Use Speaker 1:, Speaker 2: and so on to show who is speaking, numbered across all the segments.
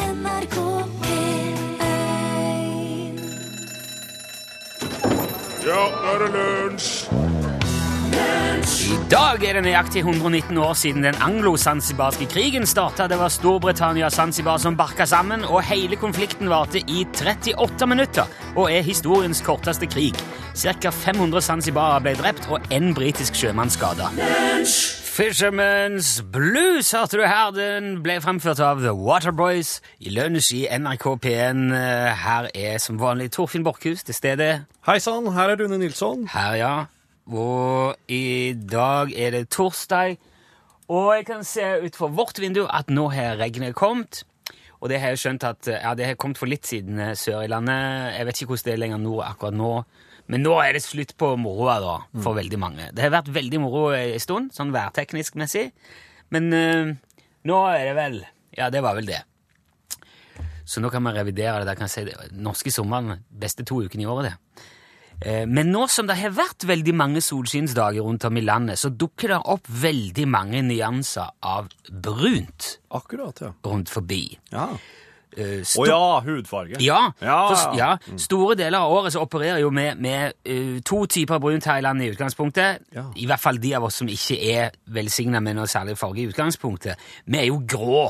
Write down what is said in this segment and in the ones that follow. Speaker 1: NRK P1
Speaker 2: Ja, nå er det lunsj!
Speaker 3: I dag er det nøyaktig 119 år siden den anglo-sansibarske krigen starta. Det var Storbritannia og Zanzibar som barka sammen, og hele konflikten varte i 38 minutter og er historiens korteste krig. Ca. 500 zanzibarer ble drept, og én britisk sjømann skada. Fisherman's Blues hørte du her. Den ble fremført av The Waterboys i lunsj i NRK P1. Eh, Her er som vanlig Torfinn Borchhus til stede.
Speaker 4: Hei sann, her er Rune Nilsson.
Speaker 3: Her, ja. Og i dag er det torsdag, og jeg kan se ut fra vårt vindu at nå har regnet kommet. Og det har jeg skjønt at ja, det har kommet for litt siden eh, sør i landet. Jeg vet ikke hvordan det er lenger nord akkurat nå. Men nå er det slutt på moroa da, for veldig mange. Det har vært veldig moro en stund, sånn værteknisk messig. Men eh, nå er det vel Ja, det var vel det. Så nå kan man revidere det. Der kan jeg si det. Norske sommeren, beste to ukene i året, det. Eh, Men nå som det har vært veldig mange solskinnsdager rundt om i landet, så dukker det opp veldig mange nyanser av brunt
Speaker 4: Akkurat, ja.
Speaker 3: rundt forbi.
Speaker 4: Ja.
Speaker 3: Eh,
Speaker 4: Å
Speaker 3: sto-
Speaker 4: ja, hudfarge.
Speaker 3: Ja,
Speaker 4: Ja,
Speaker 3: for s-
Speaker 4: ja.
Speaker 3: ja. Store deler av året så opererer jo med, med eh, to typer brunt her i landet i utgangspunktet.
Speaker 4: Ja.
Speaker 3: I hvert fall de av oss som ikke er velsigna med noe særlig farge i utgangspunktet. Vi er jo grå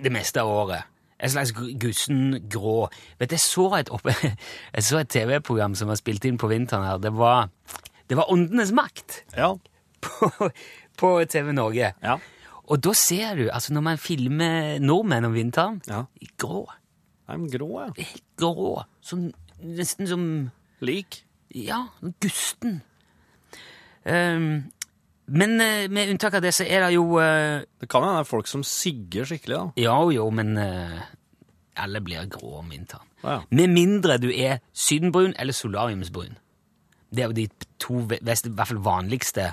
Speaker 3: det meste av året. En slags gu- gussen grå. Vet du, jeg så et, opp- jeg så et TV-program som var spilt inn på vinteren her. Det var, det var Åndenes makt
Speaker 4: Ja.
Speaker 3: på, på TV Norge.
Speaker 4: Ja.
Speaker 3: Og da ser du, altså når man filmer nordmenn om vinteren,
Speaker 4: Ja.
Speaker 3: grå
Speaker 4: I'm grå, jeg.
Speaker 3: helt grå. Som, nesten som
Speaker 4: Lik.
Speaker 3: Ja, gusten. Ehm, men eh, med unntak av det, så er det jo eh,
Speaker 4: Det kan hende det er folk som sigger skikkelig, da.
Speaker 3: Ja jo, men eh, alle blir grå om vinteren.
Speaker 4: Å, ja.
Speaker 3: Med mindre du er sydenbrun eller solariumsbrun. Det er jo de to ve- best, i hvert fall vanligste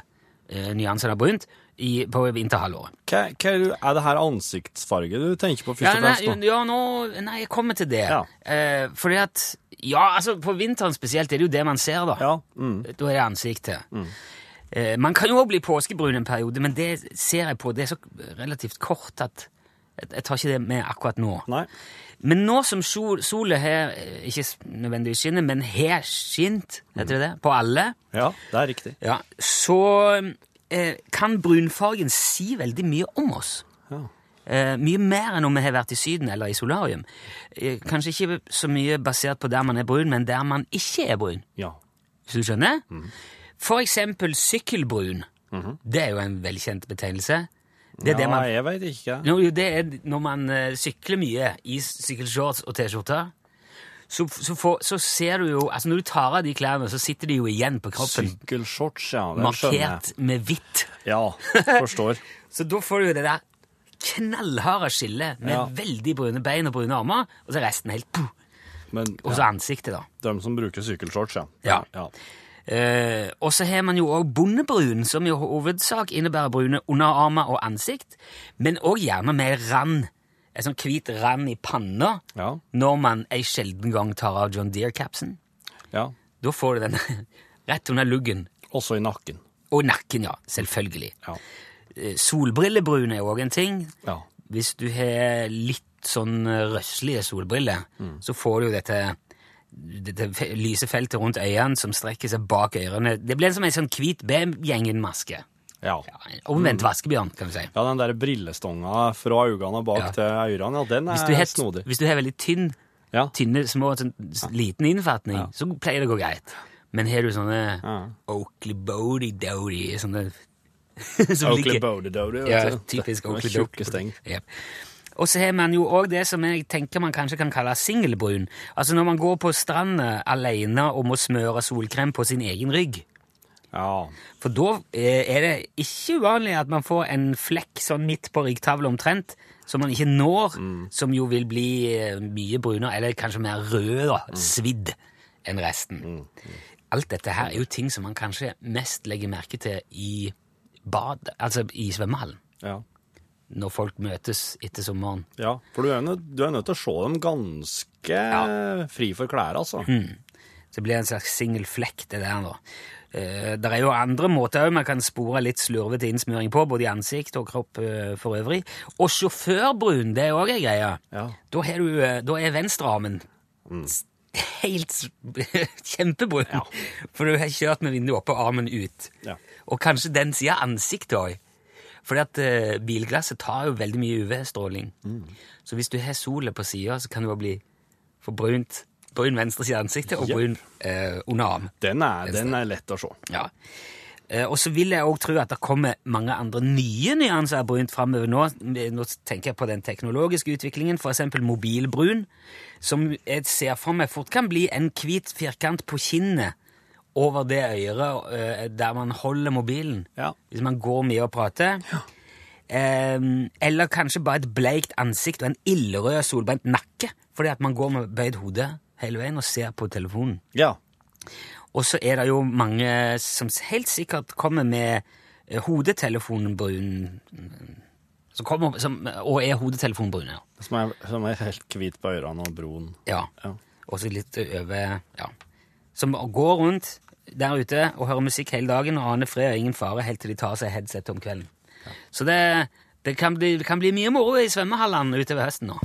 Speaker 3: eh, nyansene av brunt i, på vinterhalvåret.
Speaker 4: Hva, hva er, det- er det her ansiktsfarge du tenker på, først
Speaker 3: Ja,
Speaker 4: og fremst?
Speaker 3: nei,
Speaker 4: nå?
Speaker 3: ja, nå, nei, jeg kommer til det.
Speaker 4: Ja.
Speaker 3: Eh, fordi at Ja, altså, på vinteren spesielt er det jo det man ser, da.
Speaker 4: Ja, mm.
Speaker 3: Da er det ansiktet. Eh, man kan jo også bli påskebrun en periode, men det ser jeg på. Det er så relativt kort at jeg, jeg tar ikke det med akkurat nå.
Speaker 4: Nei.
Speaker 3: Men nå som sol, solen har eh, Ikke s- nødvendigvis skinner, men har skint, heter det det, på alle,
Speaker 4: Mm. Ja, det er riktig.
Speaker 3: ja, så eh, kan brunfargen si veldig mye om oss.
Speaker 4: Ja.
Speaker 3: Eh, mye mer enn om vi har vært i Syden eller i solarium. Eh, kanskje ikke så mye basert på der man er brun, men der man ikke er brun.
Speaker 4: ja.
Speaker 3: Hvis du skjønner?
Speaker 4: Mhm.
Speaker 3: For eksempel sykkelbrun. Det er jo en velkjent betegnelse. Det er det man
Speaker 4: jeg veit ikke.
Speaker 3: Nå, jo, det er når man eh, sykler mye i s- sykkelshorts og T-skjorte. Så, så, får- så ser du jo altså Når du tar av de klærne, så sitter de jo igjen på kroppen.
Speaker 4: Sykkelshorts, ja. Det skjønner jeg.
Speaker 3: Markert med hvitt.
Speaker 4: Ja, forstår.
Speaker 3: Så da får du jo det der knallharde skillet med
Speaker 4: Ja.
Speaker 3: veldig brune bein og brune armer, og så er resten helt puh,
Speaker 4: Men
Speaker 3: Og så
Speaker 4: ja,
Speaker 3: ansiktet, da.
Speaker 4: de som bruker sykkelshorts, ja.
Speaker 3: Ja.
Speaker 4: ja.
Speaker 3: Eh, og så har man jo òg bondebrun, som i hovedsak innebærer brune underarmer og ansikt, men òg gjerne med rand. En sånn hvit rand i panna
Speaker 4: Ja.
Speaker 3: når man ei sjelden gang tar av John Deere-capsen.
Speaker 4: ja.
Speaker 3: Da får du den rett under luggen.
Speaker 4: Også i nakken.
Speaker 3: Og nakken, ja. Selvfølgelig.
Speaker 4: Ja.
Speaker 3: Eh, Solbrillebrun er òg en ting.
Speaker 4: ja.
Speaker 3: Hvis du har litt sånn eh, røslige solbriller,
Speaker 4: Mm.
Speaker 3: så får du jo dette, dette fe- lyse feltet rundt øynene som strekker seg bak ørene. Det blir som en sånn hvit B-gjengen-maske.
Speaker 4: Ja.
Speaker 3: Ja, en
Speaker 4: Mm.
Speaker 3: Omvendt vaskebjørn, kan du si.
Speaker 4: Ja, den der brillestonga fra øynene og bak
Speaker 3: Ja.
Speaker 4: til ørene, ja, den
Speaker 3: Hvis du
Speaker 4: er
Speaker 3: har,
Speaker 4: snodig.
Speaker 3: hvis du har veldig tynn,
Speaker 4: Ja.
Speaker 3: tynne, små, sånn, s- liten innfatning, så pleier det å gå greit. Men har du sånne
Speaker 4: Ja.
Speaker 3: Oakley Bodie Dodie sånne som ligger-
Speaker 4: Oakley Bowdy Dowdy.
Speaker 3: Ja, typisk Oakley
Speaker 4: Tjukke
Speaker 3: Doke.
Speaker 4: steng.
Speaker 3: Ja. Og så har man jo òg det som jeg tenker man kanskje kan kalle singelbrun. Altså når man går på stranda alene og må smøre solkrem på sin egen rygg.
Speaker 4: Ja.
Speaker 3: For da eh, er det ikke uvanlig at man får en flekk sånn midt på ryggtavla omtrent, som man ikke når,
Speaker 4: Mm.
Speaker 3: som jo vil bli eh, mye brunere, eller kanskje mer rød, da,
Speaker 4: Mm.
Speaker 3: svidd, enn resten. Alt dette her er jo ting som man kanskje mest legger merke til i bad, altså i svømmehallen
Speaker 4: ja.
Speaker 3: når folk møtes etter sommeren.
Speaker 4: Ja, for du er, nødt, du er nødt til å se dem ganske fri for klær, altså.
Speaker 3: Så blir det en slags singelflekk, det der nå. Eh, Det er jo andre måter òg man kan spore litt slurvete innsmøring på, både i ansikt og kropp eh, for øvrig. Og sjåførbrun, det er òg ei greie.
Speaker 4: Ja.
Speaker 3: Da, har du, eh, da er venstrearmen
Speaker 4: Mm.
Speaker 3: s- helt s- kjempebrun, for du har kjørt med vinduet oppe og armen ut.
Speaker 4: Ja.
Speaker 3: Og kanskje den sida av ansiktet òg. Fordi at eh, bilglasset tar jo veldig mye UV-stråling.
Speaker 4: Mm.
Speaker 3: Så hvis du har sola på sida, så kan du bare bli for brunt. Brun venstre side av ansiktet og
Speaker 4: Jepp.
Speaker 3: brun eh, underarm.
Speaker 4: Den er, den er lett å se.
Speaker 3: Ja. Eh, Og så vil jeg òg tro at det kommer mange andre nye nyanser av brunt framover nå. Nå tenker jeg på den teknologiske utviklingen, f.eks. mobilbrun, som jeg ser for meg fort kan bli en hvit firkant på kinnet over det øret eh, der man holder mobilen.
Speaker 4: Ja.
Speaker 3: Hvis man går mye og prater. Eh, Eller kanskje bare et bleikt ansikt og en ildrød solbrent nakke, fordi at man går med bøyd hode hele veien og ser på telefonen.
Speaker 4: Ja.
Speaker 3: Og så er det jo mange som helt sikkert kommer med eh, hodetelefonen brun mm, som kommer, som, Og er hodetelefonen brun, ja.
Speaker 4: Som er, som er helt hvit på ørene og broen.
Speaker 3: ja.
Speaker 4: Ja.
Speaker 3: Og så litt over Ja. Som går rundt der ute og hører musikk hele dagen og aner fred og ingen fare helt til de tar seg headset om kvelden. Så det, det, kan bli, det kan bli mye moro i svømmehallene utover høsten nå.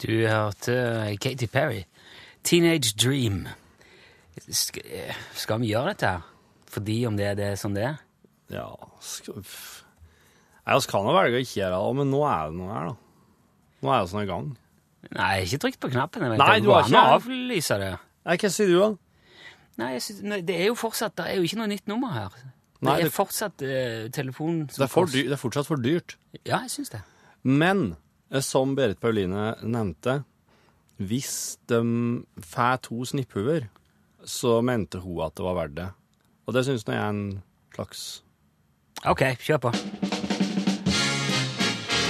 Speaker 3: Du hørte Katy Perry. 'Teenage Dream'. Sk eh, skal vi gjøre dette her? Fordi om det er det som det er?
Speaker 4: Ja, skal, pff. Nei, oss kan jo velge å ikke gjøre det, men nå er det noe her, da. Nå er det sånn i gang.
Speaker 3: Nei, jeg har ikke trykt på knappen. Jeg vet
Speaker 4: Nei,
Speaker 3: ikke.
Speaker 4: du har
Speaker 3: Går an å
Speaker 4: ikke-
Speaker 3: avlyse det.
Speaker 4: Nei, hva sier du, da?
Speaker 3: Nei, jeg synes, nei, det er jo fortsatt Det er jo ikke noe nytt nummer her. Det
Speaker 4: Nei,
Speaker 3: er
Speaker 4: det-
Speaker 3: fortsatt eh, telefon
Speaker 4: Det
Speaker 3: som
Speaker 4: er, for
Speaker 3: kost-
Speaker 4: dyr, det er fortsatt for dyrt.
Speaker 3: Ja, jeg syns det.
Speaker 4: Men eh, som Berit Pauline nevnte, hvis de får to snipphuer, så mente hun at det var verdt det. Og det syns nå jeg er en slags
Speaker 3: Ok, kjør på.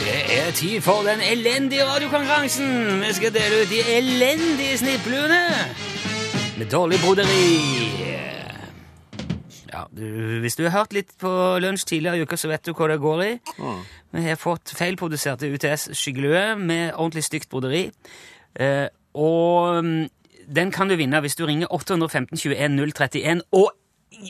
Speaker 3: Det er tid for den elendige radiokonkurransen. Vi skal dele ut de elendige snippluene med dårlig broderi. Ja, du, hvis du har hørt litt på lunsj tidligere i uka, så vet du hva det går i. Vi har fått feilproduserte UTS-skyggelue med ordentlig stygt broderi. Eh, og mm, den kan du vinne hvis du ringer 815 21 031 og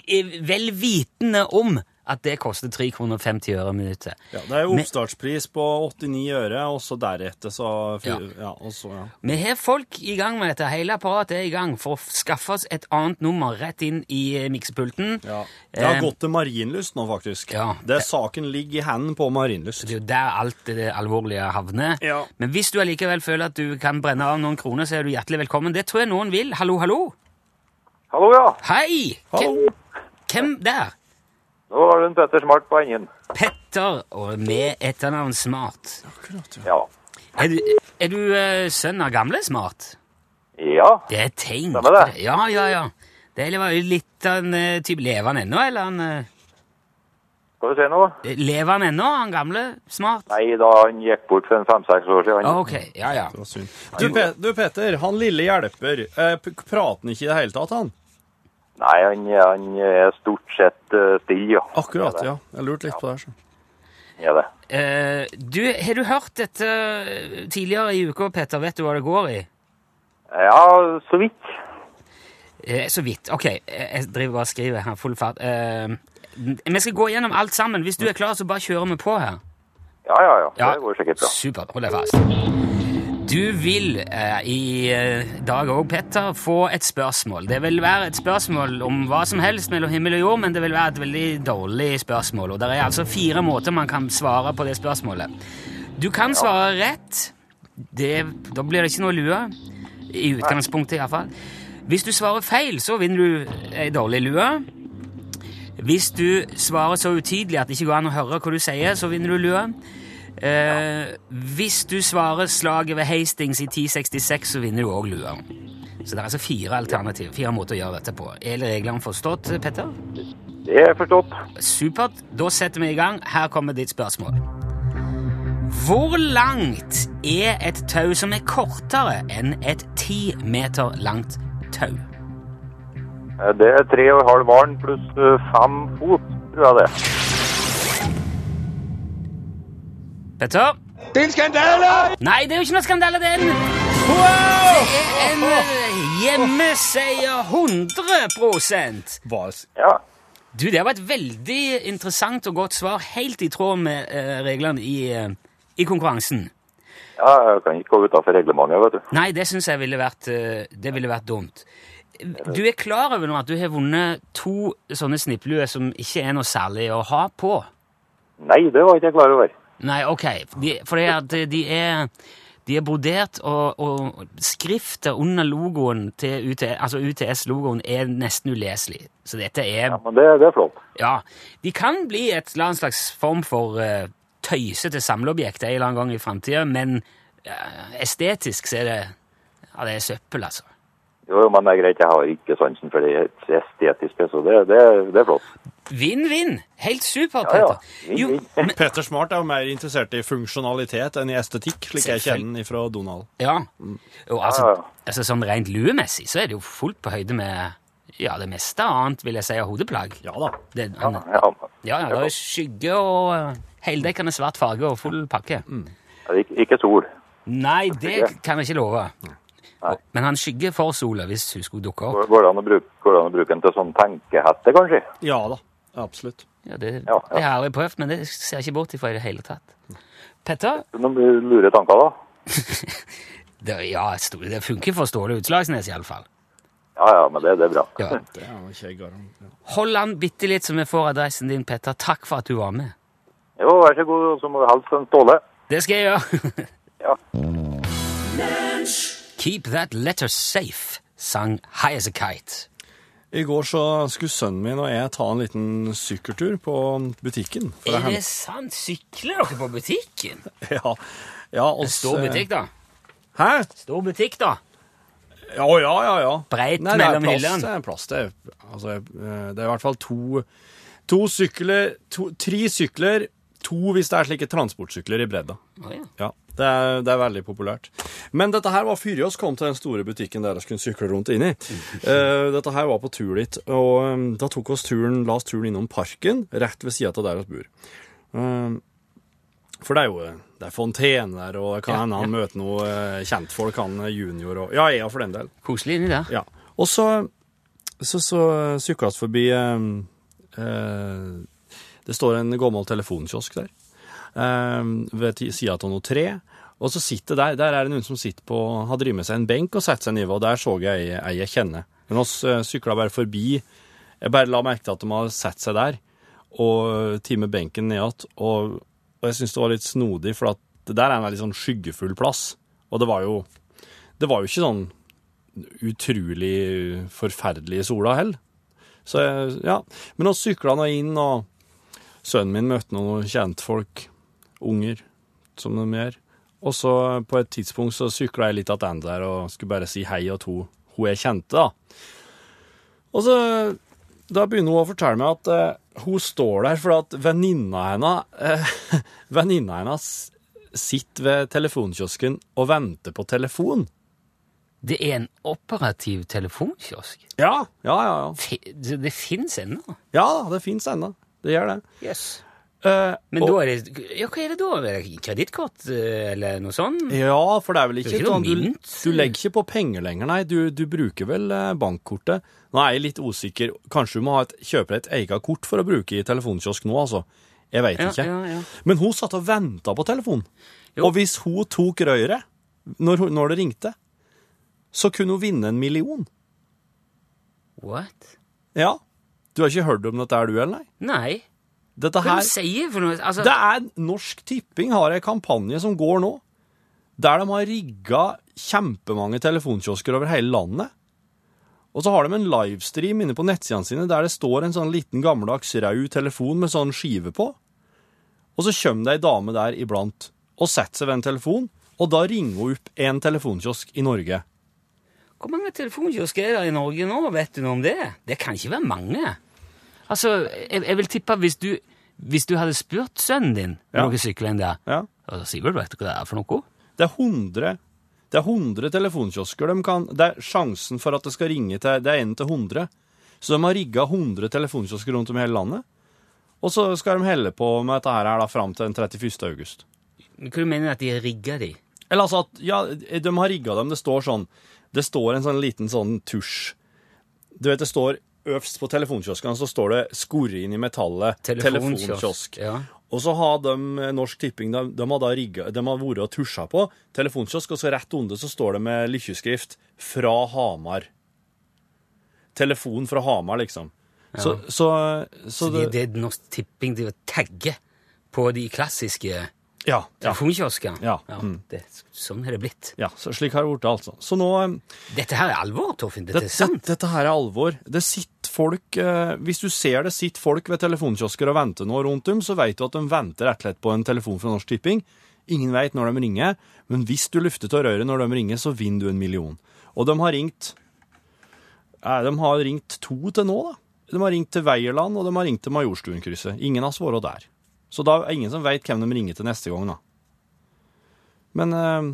Speaker 3: er vel vitende om at det koster 3 kroner 50 øre minuttet.
Speaker 4: Ja, Det er jo
Speaker 3: Men-
Speaker 4: oppstartspris på 89 øre, og så deretter så
Speaker 3: Ja.
Speaker 4: ja, og så, ja.
Speaker 3: Vi har folk i gang med dette. Hele apparatet er i gang for å skaffe oss et annet nummer rett inn i eh, miksepulten.
Speaker 4: Ja. Det har
Speaker 3: Eh,
Speaker 4: gått til Marienlyst nå, faktisk.
Speaker 3: Ja.
Speaker 4: Det Saken ligger i hendene på Marienlyst.
Speaker 3: Det er jo der alt det alvorlige havner.
Speaker 4: Ja.
Speaker 3: Men hvis du allikevel føler at du kan brenne av noen kroner, så er du hjertelig velkommen. Det tror jeg noen vil. Hallo, hallo.
Speaker 1: Hallo, ja.
Speaker 3: Hei! Hvem,
Speaker 4: Hallo!
Speaker 3: hvem der?
Speaker 1: Nå var det en Petter Smart på enden.
Speaker 3: Petter, og med etternavn Smart.
Speaker 4: Akkurat, ja.
Speaker 1: Ja.
Speaker 3: Er du, er du eh, sønn av gamle Smart?
Speaker 1: Ja.
Speaker 3: Det er tegn.
Speaker 1: Stemmer det.
Speaker 3: Ja, ja, ja. Det er jo litt av en eh, type Lever han ennå, eller han eh,
Speaker 1: Skal vi se nå?
Speaker 3: Lever han ennå, han gamle Smart? Ah,
Speaker 1: Nei, da han gikk bort for en fem-seks år siden.
Speaker 3: Ok, ja, ja.
Speaker 4: Det var synd. Du, Pe du Peter, han lille hjelper, eh, p- prater han ikke i det hele tatt, han?
Speaker 1: Nei, han, han er stort sett eh, stille, ja.
Speaker 4: Akkurat,
Speaker 1: Er det.
Speaker 4: ja. Jeg lurte litt på det. her, så.
Speaker 1: Er det.
Speaker 3: Eh, du, har du hørt dette eh, tidligere i uka, Petter? Vet du hva det går i?
Speaker 1: Ja, så vidt.
Speaker 3: Eh, så vidt. Ok, eh, jeg driver bare og skriver her full fart. Eh, vi skal gå gjennom alt sammen. Hvis du er klar, så bare kjører vi på her.
Speaker 1: Ja, ja, ja. Det går sikkert bra.
Speaker 3: Supert. Hold deg fast. Du vil eh, i eh, dag òg, Petter, få et spørsmål. Det vil være et spørsmål om hva som helst mellom himmel og jord, men det vil være et veldig dårlig spørsmål. Og det er altså fire måter man kan svare på det spørsmålet. Du kan svare rett. Det, da blir det ikke noe lue. I utgangspunktet, iallfall. Hvis du svarer feil, så vinner du ei dårlig lue. Hvis du svarer så utydelig at det ikke går an å høre hva du sier, så vinner du lue. Eh, Hvis du svarer slaget ved Hastings i 1066, så vinner du òg lua. Så det er altså fire alternativ, fire måter å gjøre dette på. Er reglene forstått, Petter?
Speaker 1: Det er forstått.
Speaker 3: Supert. Da setter vi i gang. Her kommer ditt spørsmål. Hvor langt er et tau som er kortere enn et ti meter langt tau?
Speaker 1: Eh, Det er tre og en halv varn pluss eh, fem fot, tror jeg det.
Speaker 3: Petter?
Speaker 2: Det er en skandale!
Speaker 3: Nei, det er jo ikke noe skandale, det er en, det er en eh, hjemmeseier 100
Speaker 4: Var s-
Speaker 1: Ja.
Speaker 3: Du, det var et veldig interessant og godt svar, helt i tråd med eh, reglene i, eh, i konkurransen.
Speaker 1: ja, jeg kan ikke gå utenfor reglementet, vet du.
Speaker 3: Nei, det syns jeg ville vært, eh, det ville vært dumt. Du er klar over nå at du har vunnet to sånne snippeluer som ikke er noe særlig å ha på?
Speaker 1: Nei, det var ikke jeg klar over.
Speaker 3: Nei, ok. De, for det at de er, de er brodert, og, og skriftet under logoen til UT, altså UTS-logoen er nesten uleselig. Så dette er
Speaker 1: Ja, men det, det er flott.
Speaker 3: Ja. De kan bli et eller annet slags form for uh, tøysete samleobjekt en eller annen gang i framtida, men eh, estetisk så er det Ja, det er søppel, altså.
Speaker 1: Jo, jo, men det er greit, jeg har ikke sansen for det estetiske, så det, det, det er flott.
Speaker 3: Vinn-vinn! Helt supert,
Speaker 1: Ja, ja.
Speaker 3: Peter. Jo,
Speaker 1: Vinn-vinn.
Speaker 3: men-
Speaker 4: Peter Smart er jo mer interessert i funksjonalitet enn i estetikk, slik jeg
Speaker 3: Selvfølgelig.
Speaker 4: kjenner den fra Donald.
Speaker 3: Ja. Og
Speaker 1: Ja,
Speaker 3: altså,
Speaker 1: ja.
Speaker 3: altså sånn rent luemessig så er det jo fullt på høyde med ja, det meste annet, vil jeg si, av hodeplagg.
Speaker 4: Ja da.
Speaker 3: Det,
Speaker 1: Ja,
Speaker 3: han,
Speaker 1: ja.
Speaker 3: ja, ja, det er skygge og eh, heldekkende svart farge og full pakke.
Speaker 1: Mm. Ik ikke sol.
Speaker 3: Nei, det kan jeg ikke love. Men han skygger for sola hvis hun skulle dukke opp.
Speaker 1: Går går det an å bruke, går det an å bruke den til sånn tenkehette, kanskje?
Speaker 4: Ja da. Absolutt.
Speaker 3: Ja, det, det
Speaker 1: Ja, ja.
Speaker 3: har jeg aldri prøvd, men det ser jeg ikke bort ifra i det hele tatt. Petter?
Speaker 1: Noen lure tanker, da?
Speaker 3: Det, ja, sto- det funker for Ståle Utslagsnes iallfall.
Speaker 1: Ja, ja, men det, det er bra.
Speaker 3: Ja.
Speaker 4: Det er jo ikke jeg garant... ja.
Speaker 3: Hold an bitte litt så vi får adressen din, Petter. Takk for at du var med.
Speaker 1: Jo, vær så god, og så må du helst en Ståle.
Speaker 3: Det skal jeg gjøre.
Speaker 1: Ja.
Speaker 3: Keep that letter safe, sang High as a Kite.
Speaker 4: I går så skulle sønnen min og jeg ta en liten sykkeltur på butikken. For
Speaker 3: Er
Speaker 4: å
Speaker 3: det
Speaker 4: hente-
Speaker 3: sant? Sykler dere på butikken?
Speaker 4: Ja. ja og s-
Speaker 3: Stor butikk, da.
Speaker 4: Hæ?
Speaker 3: Stor butikk, da.
Speaker 4: Ja, ja, ja. ja.
Speaker 3: Breit
Speaker 4: Nei, det er
Speaker 3: mellom
Speaker 4: plass,
Speaker 3: hyllene.
Speaker 4: Det er plass. Det er, altså, eh, det er i hvert fall to, to sykler to, Tre sykler. To hvis det er slike transportsykler i bredda.
Speaker 3: Å, ja.
Speaker 4: Ja, det er, det er veldig populært. Men dette her var før oss kom til den store butikken der vi kunne sykle rundt inn i. Eh, dette her var på tur dit, og eh, da tok oss turen, la oss turen innom parken, rett ved siden av der vi bor. Eh, for det er jo eh, det er fontene der, og det kan hende han møter noe eh, kjentfolk, han eh, junior og Ja, ja, for den del.
Speaker 3: Koselig inni der.
Speaker 4: Ja. Og så, så, så sykla vi forbi eh, eh, Det står en gammel telefonkiosk der eh, ved ti- sida av noe tre. Og så sitter der, der er det noen som sitter på, har drevet med seg en benk og satt seg ned, og der så jeg ei jeg kjenner. Men oss eh, sykla bare forbi. Jeg bare la merke til at de har satt seg der, og timet benken ned igjen. Og, og jeg syns det var litt snodig, for at det der er en veldig sånn skyggefull plass. Og det var jo, det var jo ikke sånn utrolig forferdelig i sola heller. Så jeg- ja. Men nå sykla han inn, og sønnen min møtte noen kjentfolk, unger, som de gjør. Og så på et tidspunkt så sykla jeg litt tilbake der og skulle bare si hei og to hun jeg kjente, da. Og så da begynner hun å fortelle meg at eh, hun står der fordi at venninna hennes eh, Venninna hennes sitter ved telefonkiosken og venter på telefon.
Speaker 3: Det er en operativ telefonkiosk.
Speaker 4: Ja, ja, ja. ja.
Speaker 3: Fi- Det, det fins ennå.
Speaker 4: Ja da, det fins ennå. Det gjør det.
Speaker 3: Yes.
Speaker 4: Eh,
Speaker 3: Men
Speaker 4: og-
Speaker 3: da er det Ja, hva er det da? Er det Kredittkort eh, eller noe sånt?
Speaker 4: Ja, for det er vel ikke,
Speaker 3: Det er ikke noe
Speaker 4: sånn, du,
Speaker 3: mynt.
Speaker 4: du legger ikke på penger lenger, nei. Du, du bruker vel eh, bankkortet. Nå er jeg litt usikker. Kanskje du må ha et, kjøpe deg et eget kort for å bruke i telefonkiosk nå, altså. Jeg veit
Speaker 3: Ja,
Speaker 4: ikke.
Speaker 3: ja, ja.
Speaker 4: Men hun satt og venta på telefonen.
Speaker 3: Jo.
Speaker 4: Og hvis hun tok røret når, hun- når det ringte, så kunne hun vinne en million.
Speaker 3: What?
Speaker 4: Ja. Du har ikke hørt om dette, er du, eller nei?
Speaker 3: Nei.
Speaker 4: Dette
Speaker 3: Hva
Speaker 4: her
Speaker 3: er det du sier for noe? Altså,
Speaker 4: Det er Norsk Tipping har en kampanje som går nå, der de har rigga kjempemange telefonkiosker over hele landet. Og så har de en livestream inne på nettsidene sine der det står en sånn liten gammeldags rød telefon med sånn skive på. Og så kommer det ei dame der iblant og setter seg ved en telefon, og da ringer hun opp en telefonkiosk i Norge.
Speaker 3: Hvor mange telefonkiosker er det i Norge nå? Vet du noe om det? Det kan ikke være mange. Altså, jeg, jeg vil tippe hvis du, hvis du hadde spurt sønnen din om
Speaker 4: Ja.
Speaker 3: noe sykler enn det,
Speaker 4: Ja.
Speaker 3: og så sier du vet du hva det er for noe?
Speaker 4: Det er 100, det er 100 telefonkiosker. De kan, det er sjansen for at det skal ringe til Det er 1 til 100. Så de har rigga 100 telefonkiosker rundt om i hele landet. Og så skal de helle på med dette her da, fram til den 31. august.
Speaker 3: Hva du mener at de rigger de?
Speaker 4: Eller altså at Ja, de har rigga dem. Det står sånn Det står en sånn liten sånn tusj. Du vet, det står øverst på telefonkioskene så står det 'skorre inn i metallet', telefonkiosk.
Speaker 3: Ja.
Speaker 4: Og så har de eh, Norsk Tipping de, de har da rigga, de har vært og tusja på telefonkiosk, og så rett under så står det med lykkeskrift 'Fra Hamar'. Telefon fra Hamar, liksom. Så, så, så,
Speaker 3: Så det,
Speaker 4: det,
Speaker 3: det er Norsk Tipping driver og tagger på de klassiske
Speaker 4: Ja. ja.
Speaker 3: telefonkioskene.
Speaker 4: Ja, Mm.
Speaker 3: det, sånn har det blitt.
Speaker 4: ja så slik har det blitt, altså. Så nå eh,
Speaker 3: Dette her er alvor, Torfinn. Dette
Speaker 4: Dette,
Speaker 3: er sant.
Speaker 4: dette her er alvor. Det sitter folk eh, Hvis du ser det sitter folk ved telefonkiosker og venter nå rundt om, så vet du at de venter rett og slett på en telefon fra Norsk Tipping. Ingen vet når de ringer, men hvis du lufter til røret når de ringer, så vinner du en million. Og de har ringt eh, De har ringt to til nå, da. De har ringt til Veierland, og de har ringt til Majorstuenkrysset. Ingen har svart der. Så da er det ingen som veit hvem de ringer til neste gang, da. Men eh,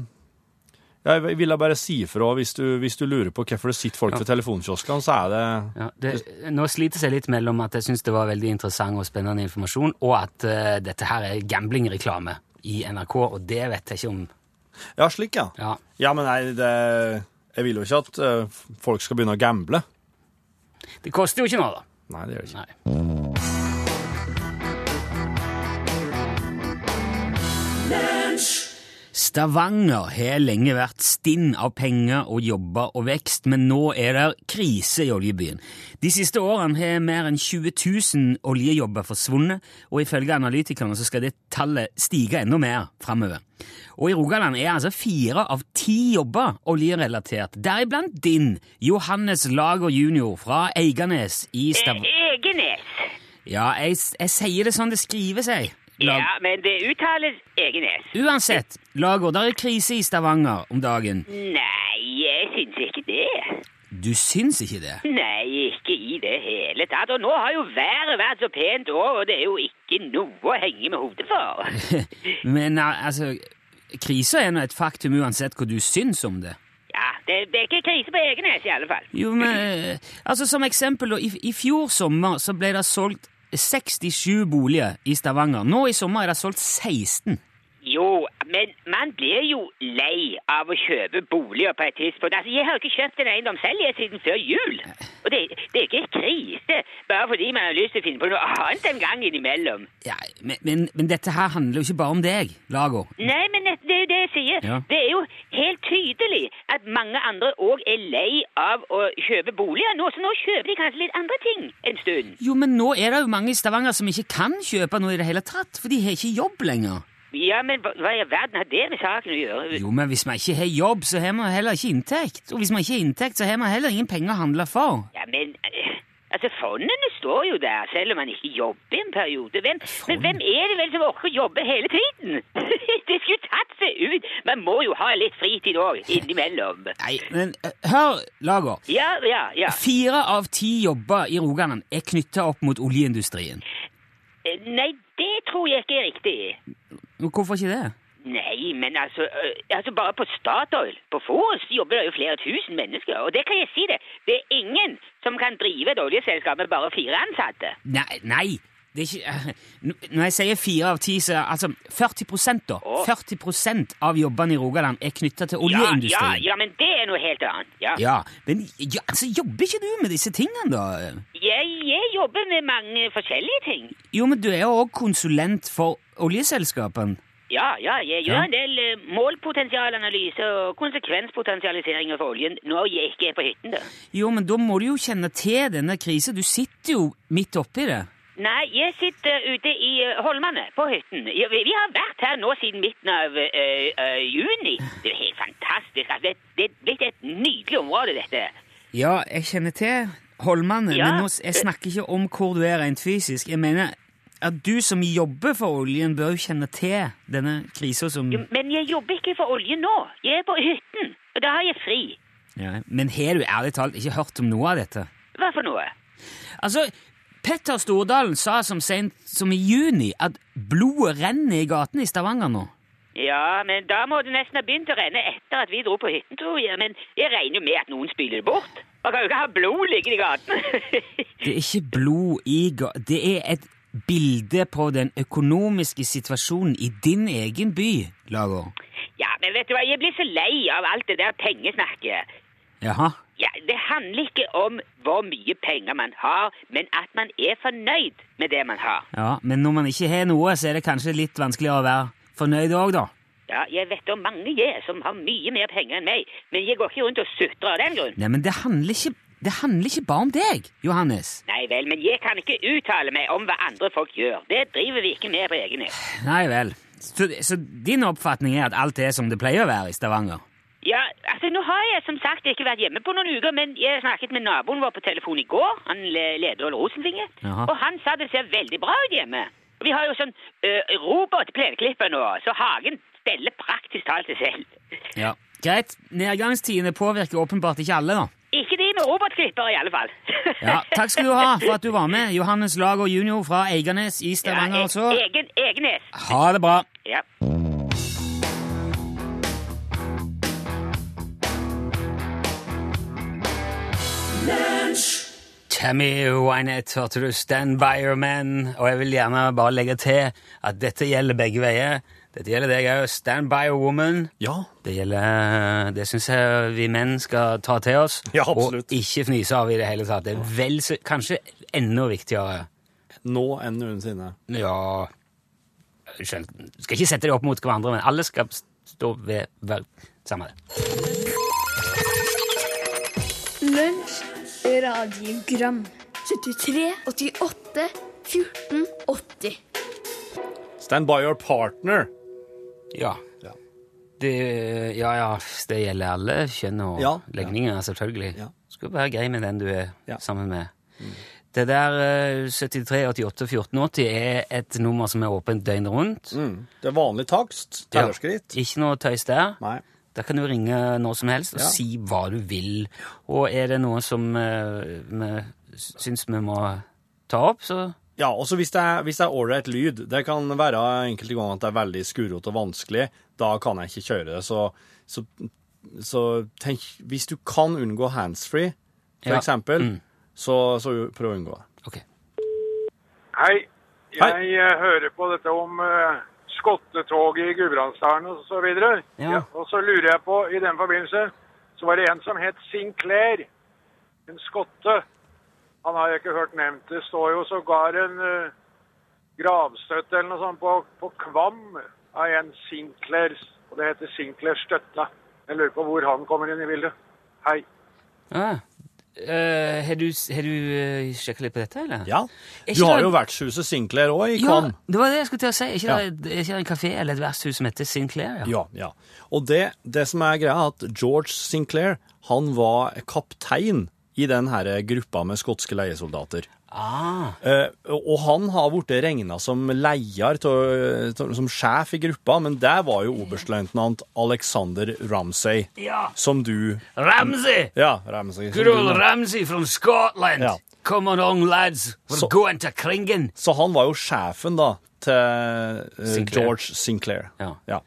Speaker 4: jeg ville bare si ifra hvis, du- hvis du lurer på hvorfor det sitter folk ved telefonkioskene, så er det
Speaker 3: Ja, det, nå slites jeg litt mellom at jeg syns det var veldig interessant og spennende informasjon, og at eh, dette her er gamblingreklame i NRK, og det vet jeg ikke om
Speaker 4: Ja, slik, ja.
Speaker 3: Ja,
Speaker 4: Ja, men nei, det Jeg vil jo ikke at eh, folk skal begynne å gamble.
Speaker 3: Det koster jo ikke noe, da.
Speaker 4: Nei, det gjør det ikke.
Speaker 3: Nei. Stavanger har lenge vært stinn av penger og jobber og vekst, men nå er det krise i oljebyen. De siste årene har mer enn 20 000 oljejobber forsvunnet, og ifølge analytikerne så skal det tallet stige enda mer framover. Og i Rogaland er altså fire av ti jobber oljerelatert, deriblant din, Johannes Lager jr. fra Eiganes i Stavanger.
Speaker 5: Egenes.
Speaker 3: Ja, jeg, jeg sier det sånn det skrives, jeg. Lag-
Speaker 5: Ja, men det uttales Egenes.
Speaker 3: Uansett, Lager, der er krise i Stavanger om dagen.
Speaker 5: Nei, jeg syns ikke det.
Speaker 3: Du syns ikke det?
Speaker 5: Nei, ikke i det hele tatt. Og nå har jo været vært så pent òg, og det er jo ikke noe å henge med hodet for.
Speaker 3: Men al- altså, krisa er nå et faktum uansett hva du syns om det.
Speaker 5: Ja, det, det er ikke krise på Egenes i alle fall.
Speaker 3: Jo, men eh, altså Som eksempel, da, i, i fjor sommer så ble det solgt 67 boliger i Stavanger. Nå i sommer er det solgt 16.
Speaker 5: Jo, men man blir jo lei av å kjøpe boliger på et tidspunkt. Altså, Jeg har jo ikke kjøpt en eiendom selv jeg siden før jul. Og det, det er ikke krise bare fordi man har lyst til å finne på noe annet en gang innimellom.
Speaker 3: Ja, men, men, men dette her handler jo ikke bare om deg, Lager.
Speaker 5: Nei, men det det er jo det jeg sier.
Speaker 3: Ja.
Speaker 5: Det er jo helt tydelig at mange andre òg er lei av å kjøpe boliger nå, så nå kjøper de kanskje litt andre ting en stund.
Speaker 3: Jo, men nå er det jo mange i Stavanger som ikke kan kjøpe noe i det hele tatt, for de har ikke jobb lenger.
Speaker 5: Ja, men hva hva i verden har det med saken å gjøre?
Speaker 3: Jo, men hvis man ikke har jobb, så har man heller ikke inntekt. Og hvis man ikke har inntekt, så har man heller ingen penger å handle for.
Speaker 5: Ja, men eh, Altså, fondene står jo der, selv om man ikke jobber en periode. Hvem, men hvem er det vel som orker å jobbe hele tiden? det skulle tatt seg ut! Man må jo ha litt fritid òg, innimellom.
Speaker 3: Nei, men eh, hør, Lager.
Speaker 5: Ja, ja, ja.
Speaker 3: Fire av ti jobber i Rogaland er knytta opp mot oljeindustrien.
Speaker 5: Eh, Nei, det tror jeg ikke er riktig.
Speaker 3: Men Hvorfor ikke det?
Speaker 5: Nei, men altså, ø, altså bare på Statoil, på Forus, jobber der jo flere tusen mennesker. Og det kan jeg si det, det er ingen som kan drive et oljeselskap med bare fire ansatte.
Speaker 3: Nei, nei. Det er ikke, eh, n- når jeg sier fire av ti, så er altså 40 da.
Speaker 5: Å.
Speaker 3: 40 av jobbene i Rogaland er knytta til
Speaker 5: Ja, ja,
Speaker 3: oljeindustrien.
Speaker 5: ja, men det er noe helt annet. Ja.
Speaker 3: Ja, men ja, altså, jobber ikke du med disse tingene, da?
Speaker 5: Jeg, jeg jobber med mange forskjellige ting.
Speaker 3: Jo, men du er jo òg konsulent for oljeselskapene.
Speaker 5: Ja, ja, jeg gjør
Speaker 3: Ja.
Speaker 5: en del ø, målpotensialanalyse og konsekvenspotensialiseringer for oljen når jeg ikke er på hytten, da.
Speaker 3: Jo, men da må du jo kjenne til denne krisen. Du sitter jo midt oppi det.
Speaker 5: Nei, jeg sitter ute i eh, Holmene, på hytten. Ja, Vi, vi har vært her nå siden midten av eh, eh, juni. Det er jo helt fantastisk. Altså, det, det er blitt et nydelig område, dette.
Speaker 3: Ja, jeg kjenner til Holmane,
Speaker 5: Ja.
Speaker 3: men nå, s- jeg snakker ikke om hvor du er rent fysisk. Jeg mener at du som jobber for oljen, bør jo kjenne til denne krisen som
Speaker 5: Jo, Men jeg jobber ikke for olje nå. Jeg er på hytten, og da har jeg fri.
Speaker 3: ja, Men har du ærlig talt ikke hørt om noe av dette?
Speaker 5: Hva for noe?
Speaker 3: Altså, Petter Stordalen sa som sent som i juni at blodet renner i gatene i Stavanger nå.
Speaker 5: Ja, men da må det nesten ha begynt å renne etter at vi dro på hytten, tror jeg. Men jeg regner jo med at noen spyler det bort. Man kan jo ikke ha blod liggende i gaten.
Speaker 3: Det er ikke blod i ga... Det er et bilde på den økonomiske situasjonen i din egen by, Lager?
Speaker 5: Ja, men vet du hva, jeg blir så lei av alt det der pengesnakket.
Speaker 3: Jaha.
Speaker 5: Ja, det handler ikke om hvor mye penger man har, men at man er fornøyd med det man har.
Speaker 3: Ja, Men når man ikke har noe, så er det kanskje litt vanskeligere å være fornøyd òg, da?
Speaker 5: Ja, jeg vet om mange jeg som har mye mer penger enn meg, men jeg går ikke rundt og sutrer av den grunn.
Speaker 3: Nei, men det handler ikke, det handler ikke bare om deg, Johannes.
Speaker 5: Nei vel, men jeg kan ikke uttale meg om hva andre folk gjør. Det driver vi ikke med på egen hånd.
Speaker 3: Nei vel. Så, så din oppfatning er at alt er som det pleier å være i Stavanger?
Speaker 5: Ja, altså nå har jeg som sagt ikke vært hjemme på noen uker, men jeg snakket med naboen vår på telefon i går, han le- leder Ole Rosenvinge,
Speaker 3: Jaha.
Speaker 5: og han sa det ser veldig bra ut hjemme. Vi har jo sånn ø, robotplenklipper nå, så hagen steller praktisk talt seg selv.
Speaker 3: Ja. Greit. Nedgangstidene påvirker åpenbart ikke alle, da.
Speaker 5: Ikke de med robotklipper i alle fall.
Speaker 3: Ja, Takk skal du ha for at du var med, Johannes Lager jr. fra Eiganes i
Speaker 5: Ja,
Speaker 3: Stavanger.
Speaker 5: e-
Speaker 3: altså.
Speaker 5: Egen, egenes.
Speaker 3: Ha det bra.
Speaker 5: Ja.
Speaker 3: Tammy Wynette, hørte du Stand by your man? Og jeg vil gjerne bare legge til at dette gjelder begge veier. Dette gjelder deg òg. Stand by your woman.
Speaker 4: Ja.
Speaker 3: Det gjelder Det syns jeg vi menn skal ta til oss.
Speaker 4: Ja, absolutt.
Speaker 3: Og ikke fnise av i det hele tatt. Det er vel så Kanskje enda viktigere.
Speaker 4: Nå enn noensinne.
Speaker 3: Ja Skjønt. Skal ikke sette det opp mot hverandre, men alle skal stå ved hver Samme det.
Speaker 6: Lunsj, radiogram 73, 88, 14, 80
Speaker 4: Stand by your partner.
Speaker 3: Ja.
Speaker 4: Ja.
Speaker 3: Det, ja, ja, det gjelder alle kjønn og
Speaker 4: Ja.
Speaker 3: legninger, selvfølgelig.
Speaker 4: Ja.
Speaker 3: Skal være grei med den du er
Speaker 4: Ja. Mm.
Speaker 3: sammen med. Det der eh, 73, 88, 14, 80 er et nummer som er åpent døgnet rundt.
Speaker 4: Mm. Det er vanlig takst.
Speaker 3: Ja.
Speaker 4: Tellerskritt.
Speaker 3: Ikke noe tøys der.
Speaker 4: Nei.
Speaker 3: Da kan du ringe når som helst og
Speaker 4: Ja.
Speaker 3: si hva du vil. Og er det noe som eh, vi syns vi må ta opp, så
Speaker 4: Ja, også hvis det er, hvis det er ålreit lyd. Det kan være enkelte ganger at det er veldig skurrete og vanskelig. Da kan jeg ikke kjøre det. Så, så, så tenk Hvis du kan unngå handsfree, for
Speaker 3: Ja.
Speaker 4: eksempel,
Speaker 3: Mm.
Speaker 4: så, så prøv å unngå det.
Speaker 3: OK.
Speaker 7: Hei.
Speaker 4: Hei.
Speaker 7: Jeg eh, hører på dette om eh, skottetoget i Gudbrandsdalen og så videre.
Speaker 3: Ja.
Speaker 7: Og så lurer jeg på, i den forbindelse, så var det en som het Sinclair. En skotte. Han har jeg ikke hørt nevnt. Det står jo sågar en eh, gravstøtte eller noe sånt på, på Kvam av en Sinclair. Og det heter Sinclair Støtta. Jeg lurer på hvor han kommer inn i bildet. Hei.
Speaker 3: Ah. Eh, har du, har du eh, sjekket litt på dette, eller?
Speaker 4: Ja.
Speaker 3: Er
Speaker 4: Du
Speaker 3: ikke
Speaker 4: har
Speaker 3: det-
Speaker 4: jo vertshuset Sinclair òg, i
Speaker 3: Ja,
Speaker 4: Kvam.
Speaker 3: det var det jeg skulle til å si. Er ikke
Speaker 4: Ja.
Speaker 3: det er ikke det en kafé eller et vertshus som heter Sinclair? Ja.
Speaker 4: Ja, ja. Og det, det som er greia, er at George Sinclair han var kaptein i den her gruppa med skotske leiesoldater.
Speaker 3: Ah,
Speaker 4: Eh, og han har blitt regna som leier, til- til- som sjef i gruppa, men det var jo oberstløytnant Alexander Ramsay,
Speaker 3: ja.
Speaker 4: som du
Speaker 3: Ramsey!
Speaker 4: Ja, Ramsay. som
Speaker 3: Good
Speaker 4: du
Speaker 3: old
Speaker 4: nå-
Speaker 3: Ramsey from Scotland!
Speaker 4: Ja.
Speaker 3: Come along, lads. We're
Speaker 4: Så-
Speaker 3: going to Kringen.
Speaker 4: Så han var jo sjefen, da, til eh,
Speaker 3: Sinclair.
Speaker 4: George Sinclair.
Speaker 3: Ja.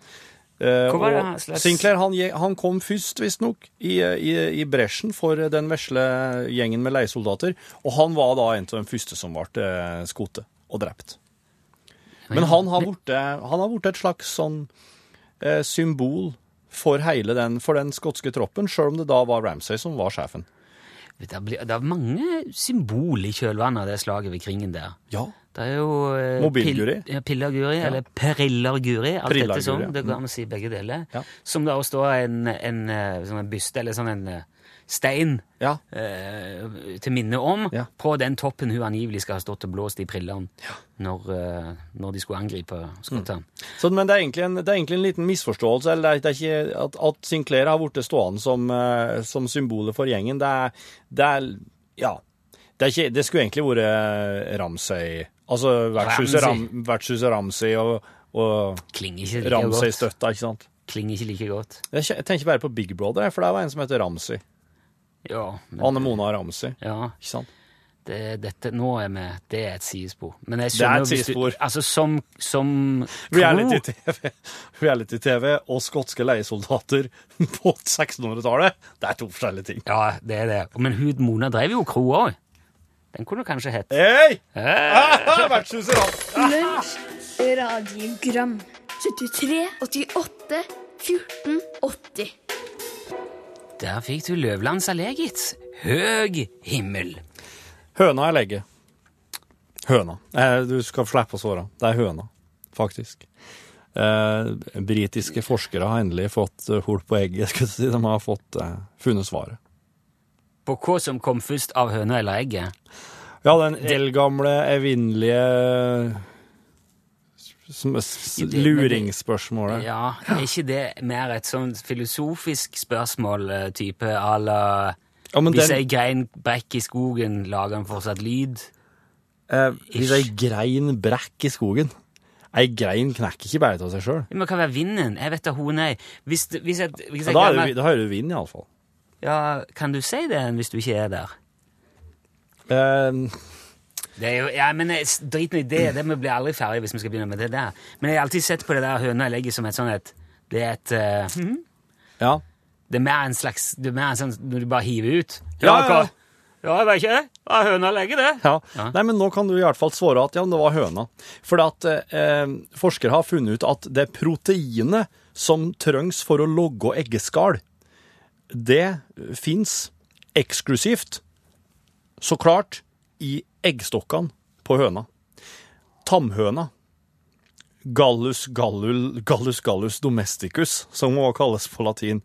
Speaker 4: Eh,
Speaker 3: Hvor var det
Speaker 4: og
Speaker 3: han slags-
Speaker 4: Sinclair han, ge- han kom først, visstnok, i, i, i bresjen for eh, den vesle gjengen med leiesoldater. Og han var da en av de første som ble eh, skutt og drept. Men han har blitt han har blitt et slags sånn eh, symbol for hele den, for den skotske troppen, sjøl om det da var Ramsay som var sjefen.
Speaker 3: Det, blir, det er mange symbol i kjølvannet av det slaget ved Kringen der.
Speaker 4: Ja.
Speaker 3: Det er jo eh,
Speaker 4: Mobilguri.
Speaker 3: Pil, ja, Pillerguri, eller Perillerguri, alt
Speaker 4: Perillerguri,
Speaker 3: dette sånn.
Speaker 4: ja. Mm.
Speaker 3: Det går an å si begge deler.
Speaker 4: Ja.
Speaker 3: Som da også står en, en eh, sånn en byste, eller sånn en eh, stein,
Speaker 4: ja.
Speaker 3: eh, til minne om,
Speaker 4: Ja.
Speaker 3: på den toppen hun angivelig skal ha stått og blåst i prillene når, eh, når de skulle angripe skottene.
Speaker 4: Så, men det er, egentlig en, det er egentlig en liten misforståelse. eller det er, det er ikke At, at Sinclair har blitt stående som, eh, som symbolet for gjengen, det er, det er Ja. Det, er ikke, det skulle egentlig vært eh, Ramsay Altså vertshuset, Ram,
Speaker 3: Ramsay.
Speaker 4: vertshuset Ramsay og, og
Speaker 3: Klinger ikke like godt.
Speaker 4: Ramsay-støtta, ikke sant?
Speaker 3: Klinger ikke like godt.
Speaker 4: Jeg kje- jeg tenker bare på Big Brother, jeg, for der var en som heter Ramsay.
Speaker 3: Ja, men-
Speaker 4: Anne Mona Ramsay.
Speaker 3: ja
Speaker 4: Ikke sant?
Speaker 3: det, dette, nå er vi Det er et sidespor. Men jeg
Speaker 4: Det er
Speaker 3: skjønner
Speaker 4: et
Speaker 3: hvis du-
Speaker 4: sidespor.
Speaker 3: Altså, som, som kro-
Speaker 4: Reality-TV reality TV og skotske leiesoldater på 1600-tallet, det er to forskjellige ting.
Speaker 3: Ja, det er det. Men hun Mona drev jo kro òg. Den kunne du kanskje hett.
Speaker 4: Hei!
Speaker 3: Eh,
Speaker 4: Vertshuset Rapp.
Speaker 6: Lunsj, radiogram 73, 88, 14, 80
Speaker 3: Der fikk du Løvlands allé, gitt. Høg himmel.
Speaker 4: Høna eller egget? Høna. Eh, du skal slippe å svare. Det er høna, faktisk. Eh, britiske forskere har endelig fått eh, hull på egget. Skal jeg si. De har fått, eh, funnet svaret.
Speaker 3: På hva som kom først av høna eller egget?
Speaker 4: Ja, den eldgamle, evinnelige s- s- luringsspørsmålet.
Speaker 3: Ja, er ikke det mer et sånn filosofisk spørsmål eh, type à la
Speaker 4: Ja, men
Speaker 3: Hvis
Speaker 4: den-
Speaker 3: ei grein brekker i skogen, lager den fortsatt lyd?
Speaker 4: Eh, hvis ei
Speaker 3: Ish.
Speaker 4: grein brekk i skogen Ei grein knekker ikke bare av seg sjøl.
Speaker 3: Men hva kan være vinden? Jeg vet da hun er. Hvis, det- hvis, et, hvis
Speaker 4: Da,
Speaker 3: jeg
Speaker 4: er
Speaker 3: glemmer-
Speaker 4: det- da hører du vind, iallfall.
Speaker 3: Ja, kan du si det hvis du ikke er der?
Speaker 4: Eh,
Speaker 3: Det er jo, ja, men eh, s- Drit nå i det. det Vi blir aldri ferdig hvis vi skal begynne med det der. Men jeg har alltid sett på det der høna legger som et sånn et Det er et eh,
Speaker 4: ja.
Speaker 3: Det er mer en slags Det er mer en sånn når du bare hiver ut.
Speaker 4: Ja, ja, ja.
Speaker 3: hva- ja jeg vet ikke. Ja, høna legger det.
Speaker 4: Ja.
Speaker 3: Ja.
Speaker 4: Nei, men nå kan du i hvert fall svare at ja, men det var høna. For at eh, forskere har funnet ut at det proteinet som trengs for å logge eggeskall, det fins eksklusivt, så klart, i eggstokkene på høna. Tamhøna. Gallus gallul, gallus gallus domesticus, som må kalles på latin.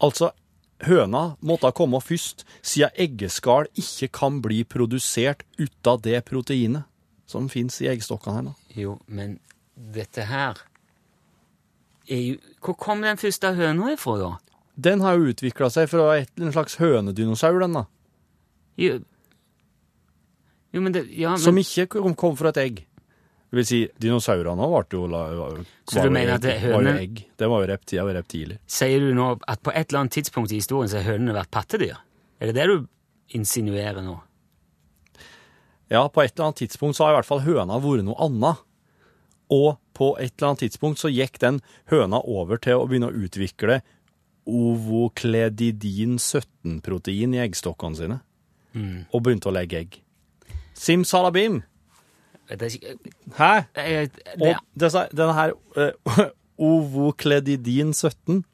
Speaker 4: Altså, høna måtte komme først, siden eggeskall ikke kan bli produsert ut av det proteinet som finnes i eggstokkene her nå.
Speaker 3: Jo, men dette her er jo Hvor kom den første høna ifra, da?
Speaker 4: Den har jo utvikla seg fra et, en slags hønedinosaur, den da,
Speaker 3: Jo, jo men det Ja, men
Speaker 4: som ikke kom, kom fra et egg. Det vil si, dinosaurene også ble jo la-
Speaker 3: Så du
Speaker 4: var jo
Speaker 3: mener at det-
Speaker 4: egg- var jo
Speaker 3: hønen-
Speaker 4: egg. Det var jo reptiler. Var reptiler.
Speaker 3: Sier du nå at på et eller annet tidspunkt i historien så har hønene vært pattedyr? Er det det du insinuerer nå?
Speaker 4: Ja, på et eller annet tidspunkt så har i hvert fall høna vært noe annet. Og på et eller annet tidspunkt så gikk den høna over til å begynne å utvikle ovokledidin 17-protein i eggstokkene sine. Og begynte å legge egg. Simsalabim!
Speaker 3: Vet jeg ikke
Speaker 4: Hæ?
Speaker 3: jeg, det,
Speaker 4: Og disse, denne her eh, ovokledidin 17,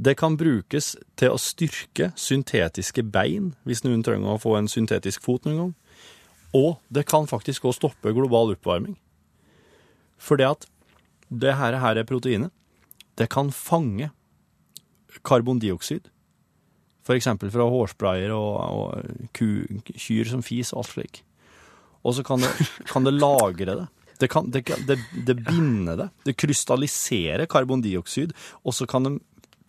Speaker 4: det kan brukes til å styrke syntetiske bein, hvis noen trenger å få en syntetisk fot noen gang. Og det kan faktisk også stoppe global oppvarming. Fordi at det her, her er proteinet. Det kan fange karbondioksid. For eksempel fra hårsprayer og, og ku, kyr som fis og alt slik. Og så kan det, kan det lagre det. Det, kan, det, kan- det, det binder det. Det krystalliserer karbondioksid, og så kan de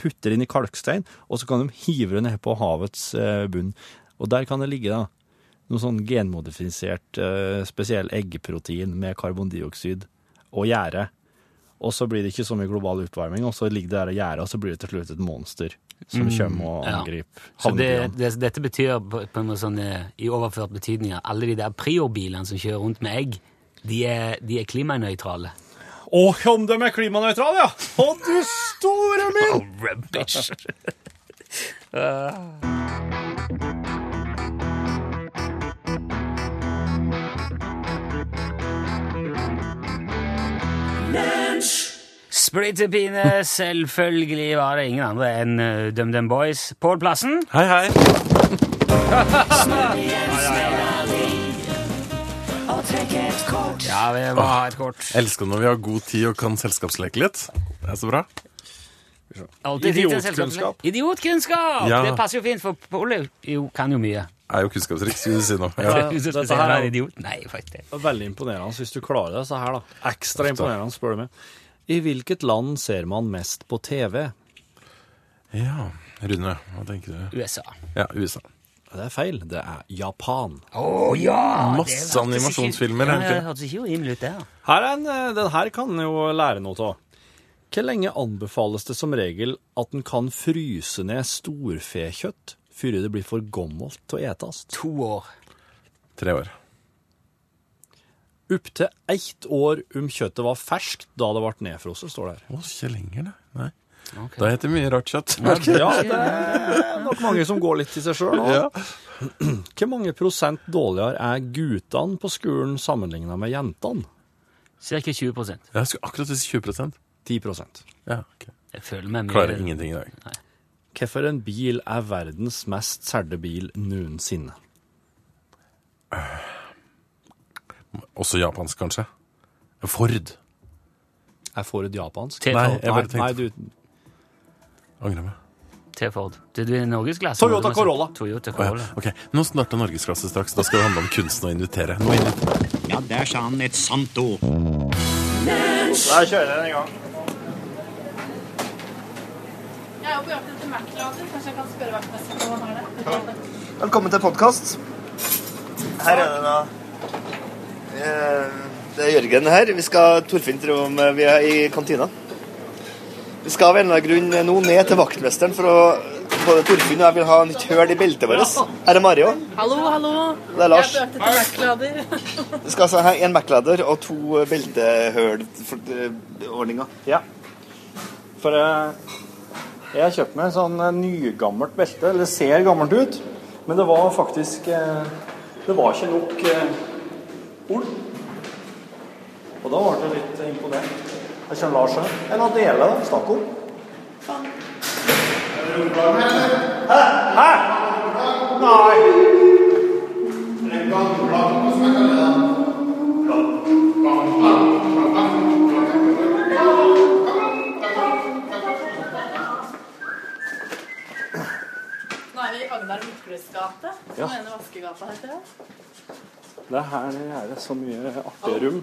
Speaker 4: putte det inn i kalkstein, og så kan de hive det ned på havets eh, bunn. Og der kan det ligge da, noe sånn genmodifisert eh, spesiell eggeprotein med karbondioksid og gjære. Og så blir det ikke så mye global oppvarming, og så ligger det der og gjære, og så blir det til slutt et monster som kommer og
Speaker 3: Mm, ja.
Speaker 4: angriper.
Speaker 3: så det,
Speaker 4: havnebyen.
Speaker 3: det, dette betyr på, på en måte sånn eh, i overført betydning at alle de der priorbilene som kjører rundt med egg, de er, de er klimanøytrale.
Speaker 4: Å, om de er klimanøytrale, ja! Å, du store min!
Speaker 3: Rubbish! Splitter pine, selvfølgelig var det ingen andre enn eh, DumDum Boys. Pål Plassen.
Speaker 4: Hei, hei.
Speaker 3: Ja, vi må ha et kort.
Speaker 8: Elsker når vi har god tid og kan selskapsleke litt. Det er så bra.
Speaker 3: Alltid tid til
Speaker 4: Idiotkunnskap.
Speaker 3: selskapsle- Idiotkunnskap!
Speaker 8: Ja.
Speaker 3: Det passer jo fint, for Pål er jo- jo, kan jo mye.
Speaker 8: Er jo kunnskapsrik, skulle du si nå.
Speaker 3: Ja,
Speaker 8: Ja.
Speaker 3: Hvis du skal
Speaker 4: dette
Speaker 3: si
Speaker 4: her
Speaker 3: han
Speaker 4: er
Speaker 3: er
Speaker 4: jo-
Speaker 3: idiot. Nei, faktisk.
Speaker 4: Veldig imponerende hvis du klarer det, så her da. Ekstra imponerende, spør du meg. I hvilket land ser man mest på TV?
Speaker 8: ja. Rune, hva tenker du?
Speaker 3: USA.
Speaker 8: Ja, USA.
Speaker 4: Det er feil, det er Japan.
Speaker 3: Å ja!
Speaker 8: Masse
Speaker 3: det hørtes
Speaker 8: animasjonsfilmer,
Speaker 3: ikke- Ja,
Speaker 8: egentlig.
Speaker 3: ja, det hørtes ikke urimelig ut, det. da.
Speaker 4: Her er en, eh, den her kan en jo lære noe av. Hvor lenge anbefales det som regel at en kan fryse ned storfekjøtt før det blir for gammelt til å etast?
Speaker 3: To år.
Speaker 8: Tre år.
Speaker 4: Opp til ett år om kjøttet var ferskt da det ble nedfrosset, står det her.
Speaker 8: Å, ikke lenger, det. Nei. Da heter det mye rart kjøtt.
Speaker 9: Ja, det er nok mange som går litt i seg sjøl.
Speaker 8: Ja.
Speaker 9: Hvor mange prosent dårligere er guttene på skolen sammenligna med jentene?
Speaker 3: Cirka 20 prosent.
Speaker 8: Jeg skulle akkurat si 20
Speaker 9: 10 prosent.
Speaker 8: ja, ok.
Speaker 3: Jeg føler meg mer
Speaker 8: Klarer ingenting i dag.
Speaker 9: Hvorfor en bil er verdens mest særde bil noensinne?
Speaker 8: Også japansk, kanskje. Ford.
Speaker 9: Er Ford japansk?
Speaker 3: T-
Speaker 8: Nei, jeg bare
Speaker 9: nei,
Speaker 8: tenkte
Speaker 9: du,
Speaker 8: Angrer meg.
Speaker 3: til Ford. Du, du er norgesklasse.
Speaker 9: Toyota
Speaker 3: må du si.
Speaker 9: Corolla.
Speaker 3: Toyota
Speaker 8: Å, ja.
Speaker 3: Corolla.
Speaker 8: Ok, Nå starter Norgesklasse straks. Da skal det handle om kunsten å invitere. Nå inn-
Speaker 10: Ja, der sa han et sant ord.
Speaker 4: Da kjører jeg den i gang.
Speaker 11: Jeg er jo på jakt etter Mac-lader. Kanskje jeg kan spørre vaktmesteren om han har det?
Speaker 12: Velkommen til podkast. Her er det da eh, Det er Jørgen her. Vi skal Torfinn tror om eh, vi er i kantina. Vi skal av en eller annen grunn eh, nå ned til vaktmesteren for å Både Torfinn og jeg vil ha nytt høl i beltet vårt. Her er Mari òg.
Speaker 11: Hallo, hallo.
Speaker 12: Det er Lars.
Speaker 11: Jeg er på jakt etter Mac-lader.
Speaker 12: Vi skal altså ha en Mac-lader og to eh, beltehølordninger.
Speaker 4: Ja. For eh, jeg har kjøpt meg en sånn eh, nygammelt belte. Eller det ser gammelt ut. Men det var faktisk eh, Det var ikke nok eh, ull. Og da ble jeg litt imponert. Jeg kjenner Lars her. En av delene da, stakk om. Hæ? Hæ? Nei!
Speaker 11: Nå er vi i Agnar Midtbøs gate. Som mener Vaskegata heter det.
Speaker 4: Det er her det er så mye artige rom.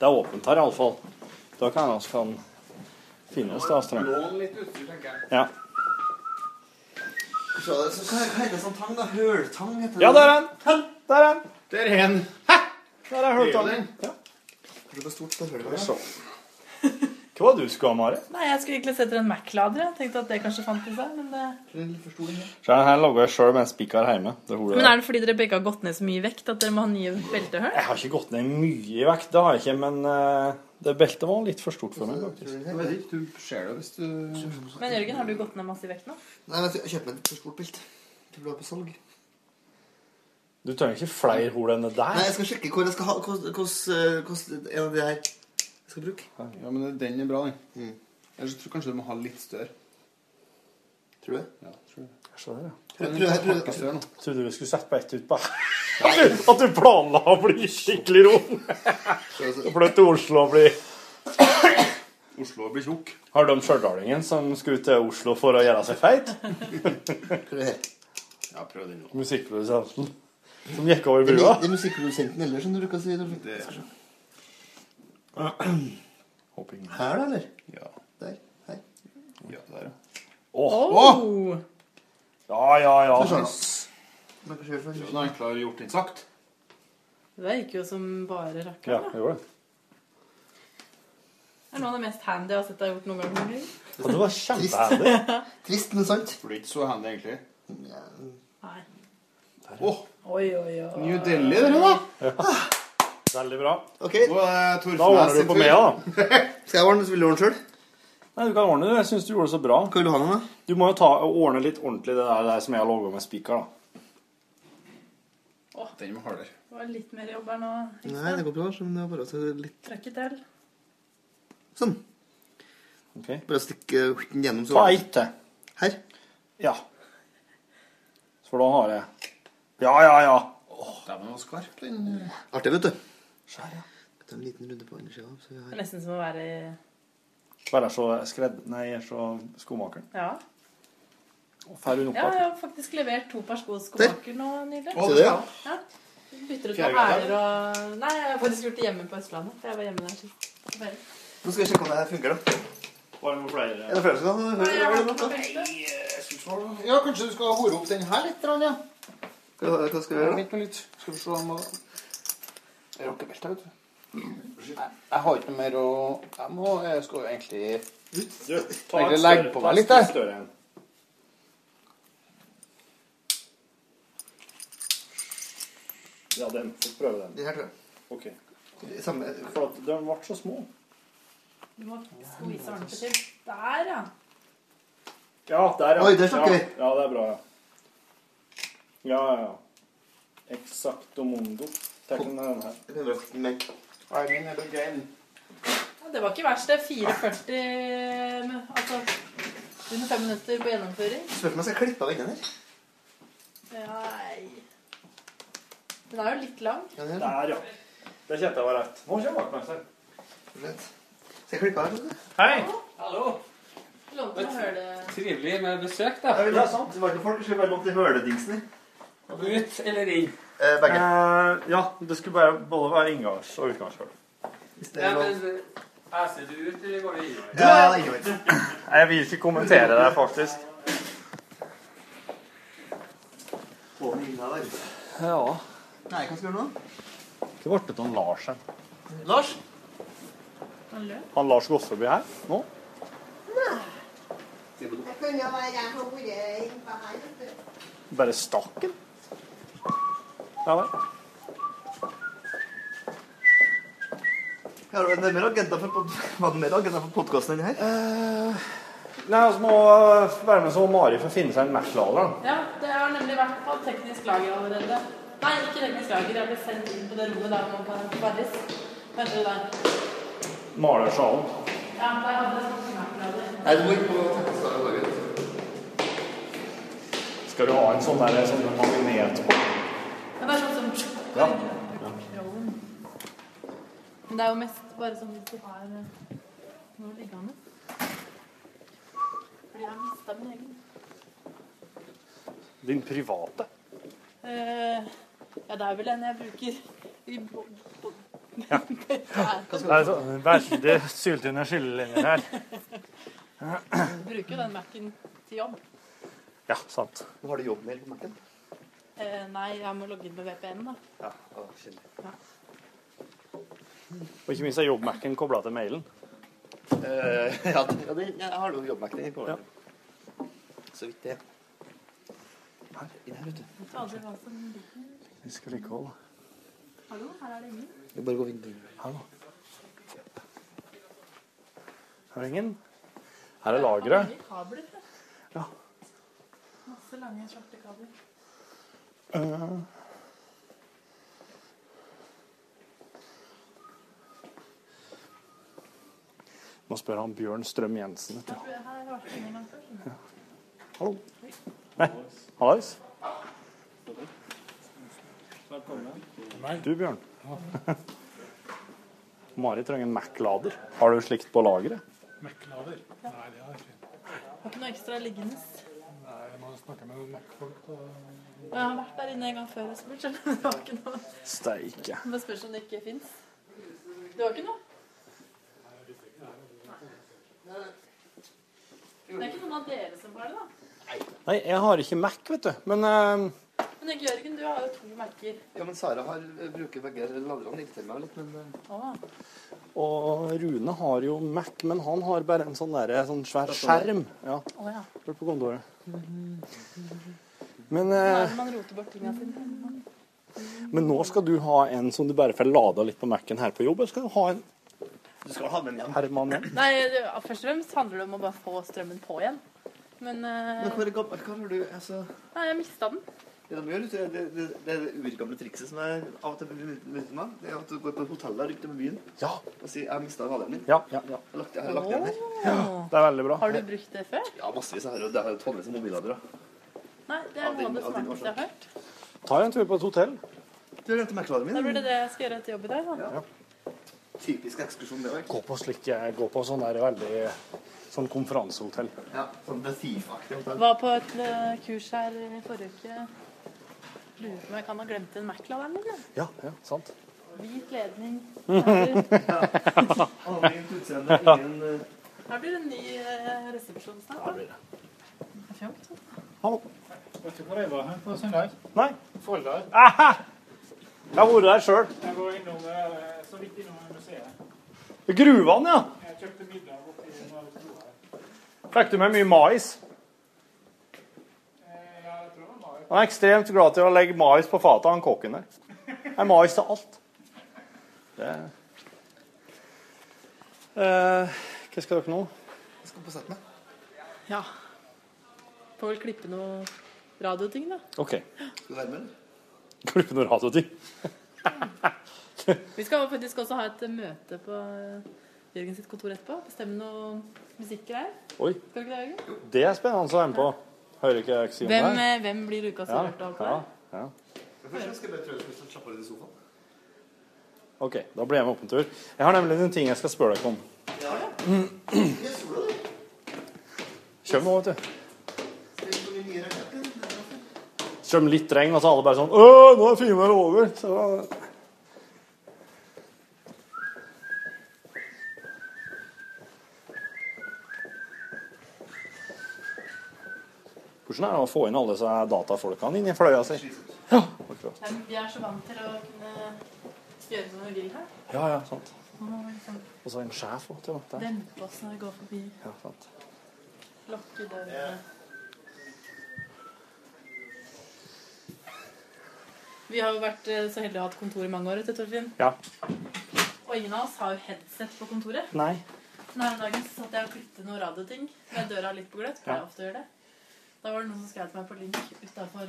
Speaker 4: Det er åpent her iallfall. Da kan vi kan finnes da, strøm. Ja.
Speaker 12: Hva heter det sånn tang, da? Høltang? heter
Speaker 4: ja, der er den! Hæ? Der er den!
Speaker 10: Der er han.
Speaker 4: Der er høltangen. Ja.
Speaker 12: Det er stort, det hølet.
Speaker 4: Så. Hva var det du skulle ha, Mari?
Speaker 11: Nei, jeg skulle egentlig sett etter en Mac-lader. Jeg tenkte at det kanskje fant i seg, men det...
Speaker 4: Så den her lager jeg sjøl med en spiker hjemme. Det er hun
Speaker 11: Men
Speaker 4: der.
Speaker 11: er det fordi dere begge har gått ned så mye vekt at dere må ha nye beltehøl?
Speaker 4: Jeg har ikke gått ned mye i vekt, det har jeg ikke, men eh, det beltet var litt for stort for meg. faktisk.
Speaker 12: Jeg vet ikke, du ser det hvis du Nei,
Speaker 11: Men Jørgen, har du gått ned masse i vekt nå?
Speaker 12: vet du, jeg kjøper meg et for stort belte. Det blir på salg.
Speaker 4: Du trenger ikke flere hull enn det
Speaker 12: Nei,
Speaker 4: der.
Speaker 12: jeg skal sjekke hvor jeg skal ha hvordan- hvordan- hvordan en av de her jeg skal bruke.
Speaker 10: Ja, men den er bra, den. Ellers tror jeg kanskje du må ha litt større.
Speaker 12: Tror du det?
Speaker 10: Ja, tror jeg.
Speaker 4: Se der, ja.
Speaker 12: Prøv, prøv, prøv, prøv.
Speaker 10: Større nå.
Speaker 4: Trodde du skulle sette på ett utpå. At du, at du planla å bli skikkelig rom. Og flytte til Oslo og bli
Speaker 10: Oslo blir tjukk.
Speaker 4: Har de stjørdalingen som skulle til Oslo for å gjøre seg feit?
Speaker 12: prøv her.
Speaker 10: Ja, prøv den nå.
Speaker 4: Musikkprodusenten som gikk over
Speaker 12: Det
Speaker 4: brua?
Speaker 12: er musikkprodusenten ellers som du bruker å si. Torfinn. Skal se.
Speaker 10: Håper ingen
Speaker 12: Her, da, eller?
Speaker 10: Ja.
Speaker 12: Der. Her.
Speaker 10: Ja, der, ja.
Speaker 11: Oh!
Speaker 4: Ja, ja, ja.
Speaker 12: Men kanskje vi får-
Speaker 10: Så Nå er han klar og gjort den sagt.
Speaker 11: Det gikk jo som bare
Speaker 4: Ja,
Speaker 11: rakkeren, da.
Speaker 4: jeg gjorde det.
Speaker 11: Det er noe av det mest handy jeg har sett deg gjort noen gang. Jørgen.
Speaker 4: Og det var kjempehandy.
Speaker 12: Trist, men sant.
Speaker 10: For det er ikke så handy, egentlig.
Speaker 12: Ja.
Speaker 11: Nei.
Speaker 10: Åh,
Speaker 11: Oi, oi, oi.
Speaker 10: New Delhi, dere, da.
Speaker 4: Veldig bra.
Speaker 12: Ok,
Speaker 10: Nå er det Torfinn
Speaker 4: Da ordner
Speaker 10: sin
Speaker 4: du på
Speaker 10: tur.
Speaker 4: meg, da.
Speaker 12: Skal jeg ordne så vil du ordne sjøl?
Speaker 4: Nei, du kan ordne det. Jeg syns du gjorde det så bra.
Speaker 12: Hva vil du ha nå? da?
Speaker 4: Du må jo ta, ordne litt ordentlig det der, det der som jeg har laga med spiker, da.
Speaker 10: Den må hardere.
Speaker 11: Det var litt mer jobb her nå.
Speaker 12: Nei, det går bra. så- Men det er bare å så litt
Speaker 11: Trøkket til.
Speaker 12: sånn.
Speaker 4: Ok.
Speaker 12: Bare å stikke horten gjennom. Så.
Speaker 4: Ta ett til.
Speaker 12: Her.
Speaker 4: Ja. For da har jeg Ja, ja, ja.
Speaker 10: Dæven, var skarp, den.
Speaker 12: Artig, vet du. Ta en liten runde på andre sida. så vi
Speaker 11: Det
Speaker 12: har-
Speaker 11: er nesten som å være i
Speaker 4: Være så skredd... Nei, jeg er så skomakeren.
Speaker 11: Ja.
Speaker 4: Får hun opp
Speaker 11: Ja, jeg
Speaker 4: igjen?
Speaker 11: har faktisk levert to par sko hos skomaker nå nylig.
Speaker 12: Ser du det? ja?
Speaker 11: Ja. Bytter ut
Speaker 10: Fjerde
Speaker 11: på
Speaker 10: gang,
Speaker 11: hæler og Nei, jeg har faktisk gjort det hjemme på Østlandet. For jeg var hjemme der sist. Bare-
Speaker 12: Nå skal jeg sjekke om det her funker, da.
Speaker 4: Var det noen flere?
Speaker 12: Er det flere som kan høre?
Speaker 10: Ja, kanskje du skal hore opp den her litt, ja.
Speaker 12: Hva hva skal vi gjøre? da?
Speaker 10: Vent nå litt. Skal vi se om Jeg rakker beltet, vet du. Nei, Jeg har ikke noe mer å Jeg må Jeg skal jo egentlig
Speaker 4: Ta
Speaker 10: Egentlig
Speaker 4: et
Speaker 10: legg på
Speaker 4: større- ta
Speaker 10: meg
Speaker 4: et
Speaker 10: litt, jeg.
Speaker 4: større en. Ja, den. Få prøve den.
Speaker 7: Den her, tror jeg.
Speaker 4: Ok.
Speaker 7: Samme-
Speaker 4: For at de ble så små.
Speaker 11: Du må skvise ordentlig til. Der, ja.
Speaker 4: Ja, der, ja.
Speaker 7: Oi, der snakker
Speaker 4: ja. Ja, det er bra, ja. Ja, ja, ja. Exacto mundo. Tenk om den her.
Speaker 11: Ja, Det var ikke verst, det. 4,40 men, Altså under fem minutter på gjennomføring.
Speaker 7: Spør om jeg skal klippe av denne her.
Speaker 11: Nei Den er jo litt lang.
Speaker 4: Der, ja. Det kjente jeg var rett. Nå kommer vaktmesteren.
Speaker 7: Skal jeg klippe av den?
Speaker 4: Hei!
Speaker 3: Hallo.
Speaker 11: Lånte meg høle...
Speaker 3: Trivelig med besøk, da.
Speaker 7: det er sant. Det var ikke folk som bare måtte høre dingsene.
Speaker 3: Ut eller inn?
Speaker 7: begge.
Speaker 4: Eh, ja, det skulle bare både være inngangs- og utgangshull.
Speaker 3: Ja, men æser du ut, eller går du innover?
Speaker 4: Nei, Jeg vil ikke kommentere det, faktisk.
Speaker 7: Få den inn der.
Speaker 4: Ja.
Speaker 7: Nei, hva skal du gjøre nå?
Speaker 4: Hva ble det av Lars her?
Speaker 7: Lars?
Speaker 4: Han Lars Gosseby her nå?
Speaker 6: Jeg kunne jo være jeg har vært innpå her. vet du.
Speaker 4: Bare stakk han? Ja vel.
Speaker 7: Ja, det er mer agenda for, pod var det mer agenda for podcasten enn her.
Speaker 4: Nei, altså må være med så Mari for å finne seg en Mac-lader.
Speaker 11: Ja, det har nemlig vært på teknisk lager allerede. Nei, ikke teknisk lager. Jeg ble sendt inn på det rommet der man kan varres. Kanskje det der.
Speaker 4: Malersalen.
Speaker 11: Ja, der hadde jeg sånn merkelader.
Speaker 7: Nei, du må ikke på tekstlaget i dag.
Speaker 4: Skal du ha en sånn der sånn med magnet på?
Speaker 11: Ja, det er sånn som
Speaker 4: Ja.
Speaker 11: Kronen. Men det er jo mest bare sånn hvis du har eh, noe liggende. Fordi jeg har mistet min egen.
Speaker 4: Din private.
Speaker 11: Eh, ja, det er vel den jeg bruker i bo- bo-
Speaker 4: Det er så veldig sylt under skillelinjer her.
Speaker 11: Bruker jo den Mac-en til jobb.
Speaker 4: Ja, sant.
Speaker 7: Nå har du jobbmail på Mac-en.
Speaker 11: Eh, nei, jeg må logge inn med VPN, da.
Speaker 7: Ja, ja, skjønner.
Speaker 11: Ja.
Speaker 4: Og ikke minst er jobb-Mac-en kobla til mailen.
Speaker 7: Eh, ja, det, ja, det, jeg har jo jobbmac den. Ja. Så vidt det. Her, inn her, vet du.
Speaker 11: Vet du aldri hva som ligger
Speaker 4: Vi skal likehold.
Speaker 11: Hallo, her er det ingen.
Speaker 7: Vi bare går vinduet.
Speaker 4: Her nå. Her er ingen. Her er lageret.
Speaker 11: Mange kabler. da.
Speaker 4: Ja.
Speaker 11: Masse lange, svarte kabler.
Speaker 4: Eh, Må spørre han Bjørn Strøm-Jensen.
Speaker 11: Jeg tror jeg her har vært inne en gang før. skjønner du.
Speaker 4: Hallo. Nei, hallais. Du, Bjørn. Mari trenger en Mac-lader. Har du slikt på lageret?
Speaker 13: Mac-lader? Nei, det er fint.
Speaker 11: Har ikke noe ekstra liggende.
Speaker 13: Nei, jeg må snakke med noen Mac-folk. og-
Speaker 11: Jeg har vært der inne en gang før og spurt, skjønner du. Det var ikke noe.
Speaker 4: Steike.
Speaker 11: Det bare spørs om det ikke fins. Du har ikke noe? Nei. Det er ikke noen av dere som har det, da.
Speaker 4: Nei, jeg har ikke Mac, vet du. Men eh,
Speaker 11: Men ikke Jørgen, du har jo to merker.
Speaker 7: Ja, men Sara har, eh, bruker begge laderne litt til meg litt, men eh,
Speaker 11: Å,
Speaker 4: Og Rune har jo Mac, men han har bare en sånn, der, sånn svær skjerm. Ja.
Speaker 11: Å ja.
Speaker 4: Bort på kontoret. Men,
Speaker 11: Nå
Speaker 4: eh,
Speaker 11: er det man roter bort tinga sine.
Speaker 4: men nå skal du ha en som du bare får lada litt på Mac-en her på jobb. eller Skal du ha en
Speaker 7: du skal ha den igjen.
Speaker 4: permanent?
Speaker 11: Nei, det, først og fremst handler det om å bare få strømmen på igjen. Men, eh,
Speaker 7: Men hvor gammel hva har du altså,
Speaker 11: Nei, jeg mista den.
Speaker 7: det, de gjør, vet du, det, det, det er det urgamle trikset som jeg av og til benytter meg av. Det er at du går på hoteller rundt om i byen
Speaker 4: ja.
Speaker 7: og sier 'jeg mista laderen min'.
Speaker 4: Ja, ja, ja.
Speaker 7: Jeg har lagt, jeg har lagt den her.
Speaker 4: Det er veldig bra.
Speaker 11: Har du brukt det før?
Speaker 7: Ja, massevis. Jeg har jo- det er jo tonnevis av mobillader.
Speaker 11: Nei, det er
Speaker 7: Av din-
Speaker 11: noe av det
Speaker 7: av din
Speaker 11: smarteste jeg har hørt.
Speaker 4: Tar en tur på et hotell.
Speaker 7: Du har glemt Mac-laderen
Speaker 11: Da
Speaker 7: min.
Speaker 11: blir det det jeg skal gjøre etter jobb i dag. Da.
Speaker 7: Typisk ekskursjon, det òg.
Speaker 4: Gå på slike Gå på sånn der veldig Sånn konferansehotell.
Speaker 7: Ja, sånn The Thief-aktig hotell.
Speaker 11: Var på et eh, kurs her i forrige uke. Lurer på om jeg kan ha glemt en Mac-laderen min. jeg.
Speaker 4: Ja, ja, sant.
Speaker 11: Hvit ledning.
Speaker 7: Anonymt utseende, ingen eh,
Speaker 11: Her blir det en ny eh, resepsjon snart. da. Fjongt.
Speaker 4: Hallo.
Speaker 13: Vet du hvor jeg var hen på søndag?
Speaker 4: Nei.
Speaker 13: Folldal.
Speaker 4: Aha! Jeg har vært der sjøl.
Speaker 13: Jeg var innom, eh, så vidt innom museet.
Speaker 4: Gruvene, ja.
Speaker 13: Jeg kjøpte middag borti Mauritstua her.
Speaker 4: Fikk du med mye mais?
Speaker 13: Eh, Ja, jeg tror det var Marit.
Speaker 4: Han er ekstremt glad til å legge mais på fatet, han kokken der. Det er mais til alt. Det er... Eh, hva skal dere nå?
Speaker 7: Jeg skal på sette meg.
Speaker 11: Ja. Får vel klippe noe radioting, da.
Speaker 4: OK.
Speaker 7: Skal du være med?
Speaker 4: Klippe noen radioting.
Speaker 11: Vi skal faktisk også ha et eh, møte på eh, Jørgen sitt kontor etterpå. Bestemme noe musikkgreier.
Speaker 4: Oi,
Speaker 11: Skal du ikke det, Jørgen?
Speaker 4: det er spennende å være med på. Hører ikke jeg ikke sier
Speaker 11: Hvem,
Speaker 4: om det.
Speaker 11: eh, hvem blir ukas
Speaker 4: Ja,
Speaker 11: rørte av?
Speaker 4: ja, ja.
Speaker 7: Først skal jeg bare prøve å slappe av litt i sofaen.
Speaker 4: OK, da blir jeg med opp en tur. Jeg har nemlig en ting jeg skal spørre dere om.
Speaker 7: Ja, ja. Det er sola, du.
Speaker 4: Kjøm nå, vet du.
Speaker 7: Det er så mye nye raketter.
Speaker 4: Kjøm litt regn, og så alle bare sånn Åh, nå er finværet over! Så Hvordan er det å få inn alle disse datafolkene inn i fløya si? Ja, akkurat.
Speaker 11: Nei, men Vi er så vant til å kunne gjøre som vi vil her.
Speaker 4: Ja, ja, sant.
Speaker 11: Man må liksom
Speaker 4: Og så en sjef òg, til og med. Der.
Speaker 11: dempe oss når vi går forbi.
Speaker 4: Ja, sant.
Speaker 11: Lukke dørene. Vi har jo vært eh, så heldige å ha hatt kontor i mange år, vet du, Torfinn.
Speaker 4: Ja.
Speaker 11: Og ingen av oss har jo headset på kontoret.
Speaker 4: Nei.
Speaker 11: Den her dagen så satt jeg og klippet noen radioting med døra litt på gløtt. for
Speaker 4: Ja.
Speaker 11: jeg ofte gjør det. Da var det noen som skrev til meg på link utafor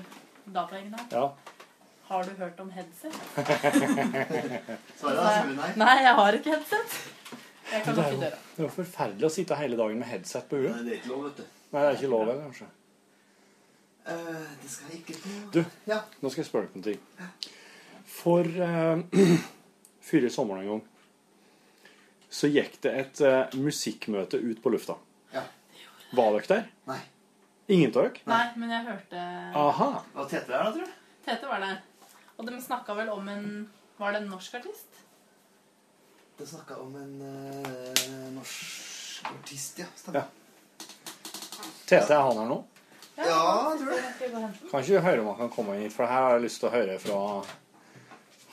Speaker 11: dataengen her.
Speaker 4: Ja.
Speaker 11: Har du hørt om headset?
Speaker 7: Svaret
Speaker 11: Så sa
Speaker 7: er
Speaker 11: jeg,
Speaker 7: selvfølgelig nei.
Speaker 11: Nei, jeg har ikke headset. Jeg
Speaker 4: Men
Speaker 11: kan
Speaker 4: Det er,
Speaker 11: lukke
Speaker 4: jo,
Speaker 11: døra.
Speaker 4: det er jo forferdelig å sitte hele dagen med headset på huet.
Speaker 7: Nei, det er ikke lov, vet du.
Speaker 4: Nei, det er ikke lov heller, kanskje.
Speaker 7: Eh, det skal jeg ikke på.
Speaker 4: Du,
Speaker 7: Ja.
Speaker 4: nå skal jeg spørre deg om en ting. For uh, før i sommeren en gang så gikk det et eh, musikkmøte ut på lufta.
Speaker 7: Ja.
Speaker 4: Var dere der?
Speaker 7: Nei.
Speaker 4: Ingen av dere?
Speaker 11: Nei, men jeg hørte
Speaker 4: Aha.
Speaker 7: Var Tete der, da, tror du?
Speaker 11: Tete var der. Og de snakka vel om en Var det en norsk artist?
Speaker 7: Det snakka om en eh, norsk artist, ja. Stemmer.
Speaker 4: Tete, er han her nå?
Speaker 11: Ja,
Speaker 7: jeg tror det.
Speaker 4: Kan ikke du høre om han kan komme hit? For her har jeg lyst til å høre fra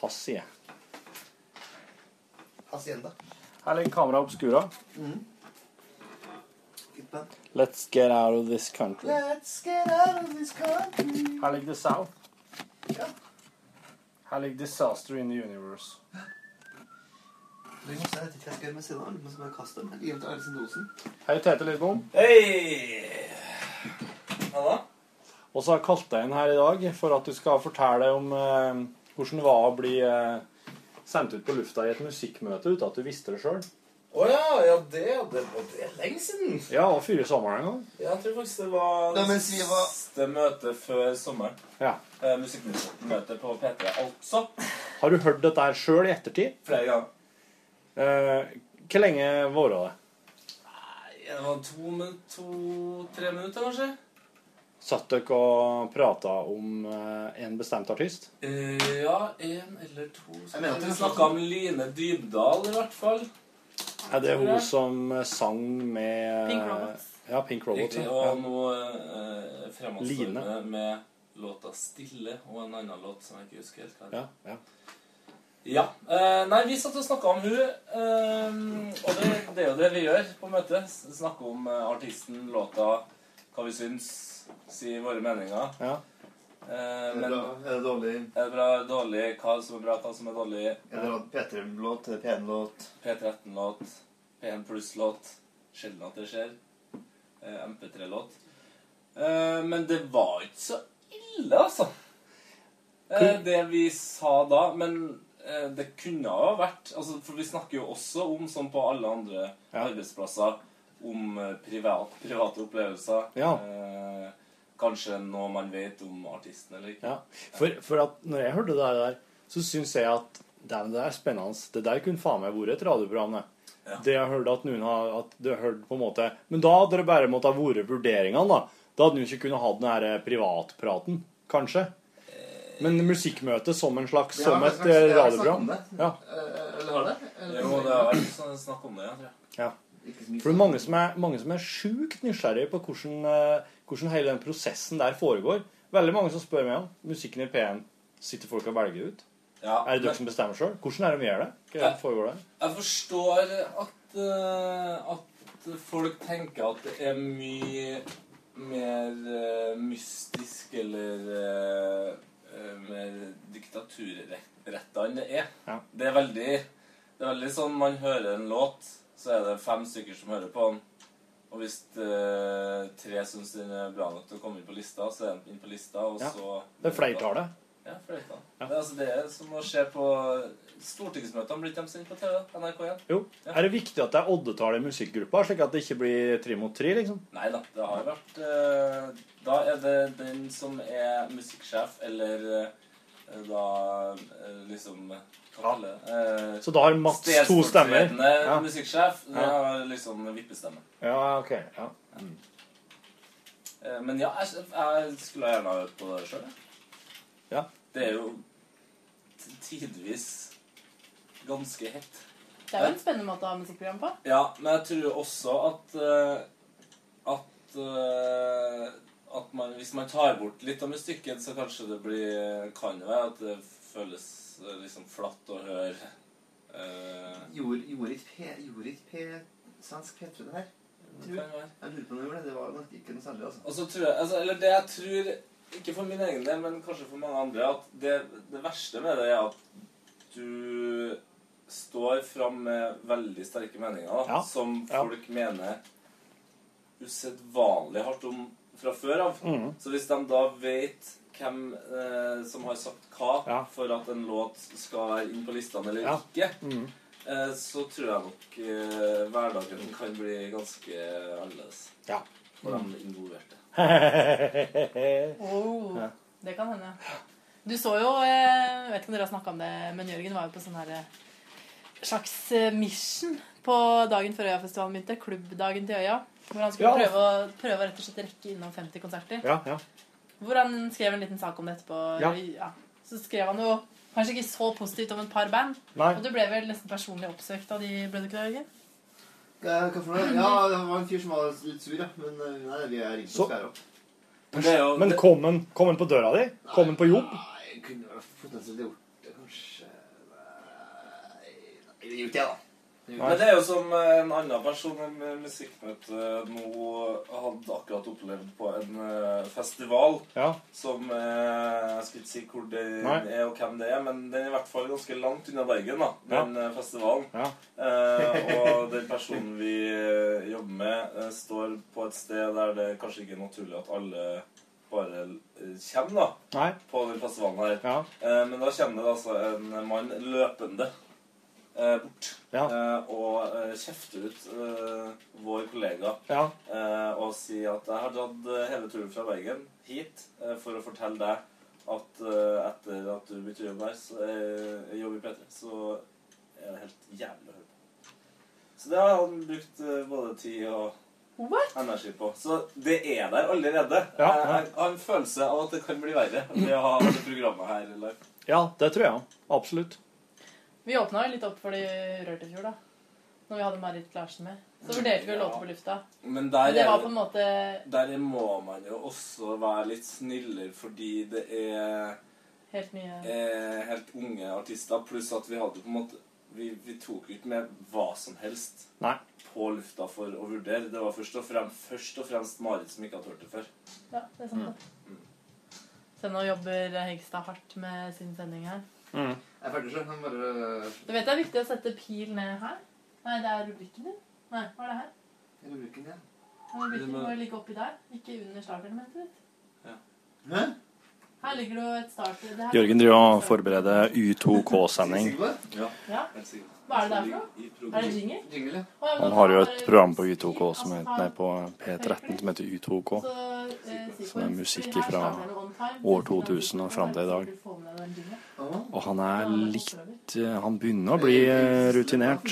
Speaker 4: hans side.
Speaker 7: Hacienda.
Speaker 4: Her ligger kameraet obskura.
Speaker 7: Mm.
Speaker 4: Let's get out of this country.
Speaker 7: Let's get out of this country.
Speaker 4: Her ligger The South. Her ligger Disaster in the Universe.
Speaker 7: Jeg vet ikke hva jeg skal gjøre med siden av. Jeg må bare kaste den. Gi den til Arne Sindosen.
Speaker 4: Hei, Tete Lidbom.
Speaker 7: Hei! Halla.
Speaker 4: Og så har jeg kalt deg inn her i dag for at du skal fortelle om eh, hvordan det var å bli eh, sendt ut på lufta i et musikkmøte uten at du visste det sjøl.
Speaker 7: Å ja, ja, det, det, det er lenge siden.
Speaker 4: Ja, og fyre sommeren en gang.
Speaker 3: Ja, jeg tror faktisk det var
Speaker 7: Da, mens vi var-
Speaker 3: siste møte før sommeren.
Speaker 4: Ja.
Speaker 3: Eh, Musikkmøte på P3, altså.
Speaker 4: Har du hørt dette her sjøl i ettertid?
Speaker 3: Flere ganger.
Speaker 4: Eh, hvor lenge varte det?
Speaker 3: Det var to, min- to tre minutter, kanskje.
Speaker 4: Satt dere og prata om eh, en bestemt artist?
Speaker 3: Eh, ja, én eller to
Speaker 7: mener at
Speaker 3: Vi
Speaker 7: det var
Speaker 3: snakka om Line Dybdahl, i hvert fall.
Speaker 4: Er det hun som eh, sang med
Speaker 3: Pink Robots.
Speaker 4: Ja, Pink Robots.
Speaker 3: Riktig.
Speaker 4: ja.
Speaker 3: Og
Speaker 4: Ja.
Speaker 3: nå eh, fremadstormende med låta 'Stille' og en annen låt som jeg ikke husker helt hva
Speaker 4: Ja, ja.
Speaker 3: Ja. Eh, nei, vi satt og snakka om hun eh, Og det, det er jo det vi gjør på møtet. S- Snakke om eh, artisten, låta, hva vi syns, si våre meninger.
Speaker 4: Ja.
Speaker 3: Eh,
Speaker 7: Er det
Speaker 3: men
Speaker 7: bra? Er det dårlig?
Speaker 3: Er det bra, dårlig? Hva som er bra, hva som er dårlig?
Speaker 7: Er det P3-låt? Er det P1-låt?
Speaker 3: P13-låt. P1 pluss-låt. Sjelden at det skjer. Eh, MP3-låt. Eh, men det var ikke så ille, altså. Eh, det vi sa da. Men eh, det kunne ha vært altså, For vi snakker jo også om, som på alle andre arbeidsplasser, om eh, privat, private opplevelser.
Speaker 4: Ja.
Speaker 3: Eh, kanskje noe man vet om artisten eller ikke.
Speaker 4: Ja, for, for at når jeg hørte det der, så syns jeg at "Dæven, det der er spennende. Det der kunne faen meg vært et radioprogram. Det. det jeg hørte at noen har at det har hørt på en måte Men da hadde det bare måttet ha vært vurderingene, da. Da hadde en jo ikke kunnet ha den her eh, privatpraten, kanskje. Men musikkmøte som en slags
Speaker 7: Eh, Ja,
Speaker 4: Som
Speaker 7: men
Speaker 4: et
Speaker 7: kanskje
Speaker 4: eh,
Speaker 7: det er snakk
Speaker 4: radioprogram.
Speaker 7: om det.
Speaker 4: Ja.
Speaker 7: Eh, Eller har det? Eller-
Speaker 3: Jo, det har vært sånn snakk om det, ja, tror jeg.
Speaker 4: ja. For det er mange som er, mange som er sjukt nysgjerrige på hvordan, eh, hvordan hele den prosessen der foregår. Veldig mange som spør meg om musikken i P1. Sitter folk og velger ut?
Speaker 3: Ja,
Speaker 4: er det dere
Speaker 3: men-
Speaker 4: som bestemmer sjøl? Hvordan er det vi gjør det? Hva
Speaker 3: Ja.
Speaker 4: foregår der?
Speaker 3: Jeg forstår at, eh, at folk tenker at det er mye mer eh, mystisk eller eh,
Speaker 11: eh, mer diktaturretta enn det er. Det, er veldig, det er veldig sånn man hører en låt, så er det fem stykker som hører på den. Og hvis eh, tre syns den er bra nok til å komme inn på lista, så er den inn på lista, og
Speaker 4: Ja.
Speaker 11: så
Speaker 4: Det er flertallet.
Speaker 11: Ja, fløyta. Det, er altså, det er som å se på Stortingsmøtene blir ikke de sendt på TV? NRK1?
Speaker 4: Jo. Er det viktig at det er oddetall i musikkgruppa, slik at det ikke blir tre mot tre, liksom?
Speaker 11: Nei da, det har vært eh, Da er det den som er musikksjef, eller eh, da eh, liksom hva kaller det? Eh,
Speaker 4: Så da har Mats to stemmer.
Speaker 11: Stedsordførende
Speaker 4: Ja.
Speaker 11: musikksjef. Det
Speaker 4: Ja.
Speaker 11: har liksom vippestemme.
Speaker 4: Ja, ok. Ja.
Speaker 11: Eh, men ja, jeg, jeg skulle gjerne ha hørt på det sjøl.
Speaker 4: Ja.
Speaker 11: Det er jo t- tidvis ganske hett. Eh?
Speaker 14: Det er jo en spennende måte å ha musikkprogram på.
Speaker 11: Ja, men jeg tror også at eh, at, eh, at man, hvis man tar bort litt av mystikken, så kanskje det blir kan jo være at det føles eh, liksom flatt å høre eh,
Speaker 15: Gjorde, gjorde ikke P- gjorde ikke P- svensk P3 det her? Tror.
Speaker 11: Det
Speaker 15: Jeg
Speaker 11: kan
Speaker 15: lurer på om
Speaker 11: være.
Speaker 15: det gjorde det. Det var nok ikke noe særlig, altså.
Speaker 11: Og så tror jeg, altså, eller det jeg tror, ikke for min egen del, men kanskje for mange andre, at det, det verste med det er at du står fram med veldig sterke meninger da,
Speaker 4: Ja.
Speaker 11: som folk mener usedvanlig hardt om fra før av.
Speaker 4: Mhm.
Speaker 11: Så hvis de da vet hvem eh, som har sagt hva for at en låt skal være inn på listene eller
Speaker 4: Ja.
Speaker 11: ikke,
Speaker 4: Mhm.
Speaker 11: eh, så tror jeg nok eh, hverdagen kan bli ganske annerledes
Speaker 4: Ja.
Speaker 11: for de involverte.
Speaker 14: Oh,
Speaker 11: Ja.
Speaker 14: Det kan hende. Du så jo eh, Jeg vet ikke om dere har snakka om det, men Jørgen var jo på sånn her eh, slags eh, mission på dagen før Øyafestivalen begynte. Klubbdagen til Øya. Hvor han skulle
Speaker 4: Ja.
Speaker 14: prøve, å, prøve å rett og slett rekke innom 50 konserter.
Speaker 4: Ja, ja.
Speaker 14: Hvor han skrev en liten sak om det etterpå.
Speaker 4: Ja.
Speaker 14: Ja. Så skrev han jo kanskje ikke så positivt om et par band.
Speaker 15: Nei.
Speaker 14: Og du ble vel nesten personlig oppsøkt av de, ble du ikke det, Jørgen?
Speaker 15: Hva hva for noe? Ja, det var en fyr som var litt sur, ja. Men eh, nei, vi er ringt
Speaker 4: Så-
Speaker 15: og skjæra opp.
Speaker 4: Men kom den, kom den på døra di? Kom den på jobb?
Speaker 15: Nei, jeg kunne vel potensielt gjort det, kanskje Nei, det gjorde jeg, da. Det gjorde
Speaker 11: Men
Speaker 15: jeg.
Speaker 11: det er jo som eh, en annen person i mu- musikkmøtet eh, nå hadde akkurat opplevd på en eh, festival
Speaker 4: Ja.
Speaker 11: som eh, Jeg skal ikke si hvor det
Speaker 4: Nei.
Speaker 11: er og hvem det er, men den er i hvert fall ganske langt unna Bergen, da,
Speaker 4: Ja.
Speaker 11: den eh, festivalen.
Speaker 4: Ja.
Speaker 11: Eh, og den personen vi eh, jobber med, eh, står på et sted der det kanskje ikke er naturlig at alle bare eh, kommer, da
Speaker 4: Nei.
Speaker 11: på den festivalen her. Eh, men da kommer det altså en mann løpende eh, bort eh, og eh, kjefter ut eh, vår kollega
Speaker 4: Ja.
Speaker 11: eh, og sier at jeg har dratt eh, hele turen fra Bergen hit eh, for å fortelle deg at eh, etter at du begynte å jobbe her, så, eh, jobb i P3, så er det helt jævlig å høre på. Så det har han brukt eh, både tid og energi på. Så det er der allerede. Eh,
Speaker 4: Ja,
Speaker 11: Jeg-
Speaker 4: ja.
Speaker 11: Jeg har en følelse av at det kan bli verre ved å ha det programmet her live.
Speaker 4: Ja, det tror jeg. Absolutt.
Speaker 14: Vi åpna jo litt opp for de rørte i fjor, da. Når vi hadde Marit Larsen med. Så vurderte vi å
Speaker 11: Ja.
Speaker 14: låte på lufta.
Speaker 11: Men
Speaker 14: Men
Speaker 11: der
Speaker 14: det
Speaker 11: er
Speaker 14: var
Speaker 11: det-
Speaker 14: på en måte
Speaker 11: Der må man jo også være litt snillere, fordi det er
Speaker 14: helt nye
Speaker 11: eh, helt unge artister. Pluss at vi hadde på en måte Vi, vi tok jo ikke med hva som helst
Speaker 4: Nei.
Speaker 11: på lufta for å vurdere. Det var først og fremst, først og fremst Marit som ikke hadde hørt det før.
Speaker 14: Ja, det er sant. det. Så nå jobber Hegstad hardt med sin sending her.
Speaker 15: Jeg er ferdig sjøl. Han bare
Speaker 14: Du vet det er viktig å sette pil ned her? Nei, det er rubrikken din. Nei, hva er det her?
Speaker 15: Jeg må bruke den, ja.
Speaker 14: Men Rubrikken
Speaker 15: Det må-
Speaker 14: må jo ligge oppi der, ikke under startelementet ditt.
Speaker 15: Hæ?
Speaker 14: Her ligger det jo et start... Det her.
Speaker 4: Jørgen driver og forbereder Y2K-sending.
Speaker 14: Ja. Hva er det der for noe? Er det jingle?
Speaker 15: Jingle,
Speaker 14: Å, ja, men
Speaker 4: Han
Speaker 14: da
Speaker 4: har jo
Speaker 14: bare-
Speaker 4: et program på Y2K som heter, nei, på P13 som heter Y2K.
Speaker 14: Så, altså, eh,
Speaker 4: Som er
Speaker 14: sequence.
Speaker 4: musikk
Speaker 14: Her
Speaker 4: fra
Speaker 14: starter det on time.
Speaker 4: år 2000 og fram til i dag.
Speaker 14: Få med den jinglen.
Speaker 4: Og han er litt eh, Han begynner å bli eh, rutinert.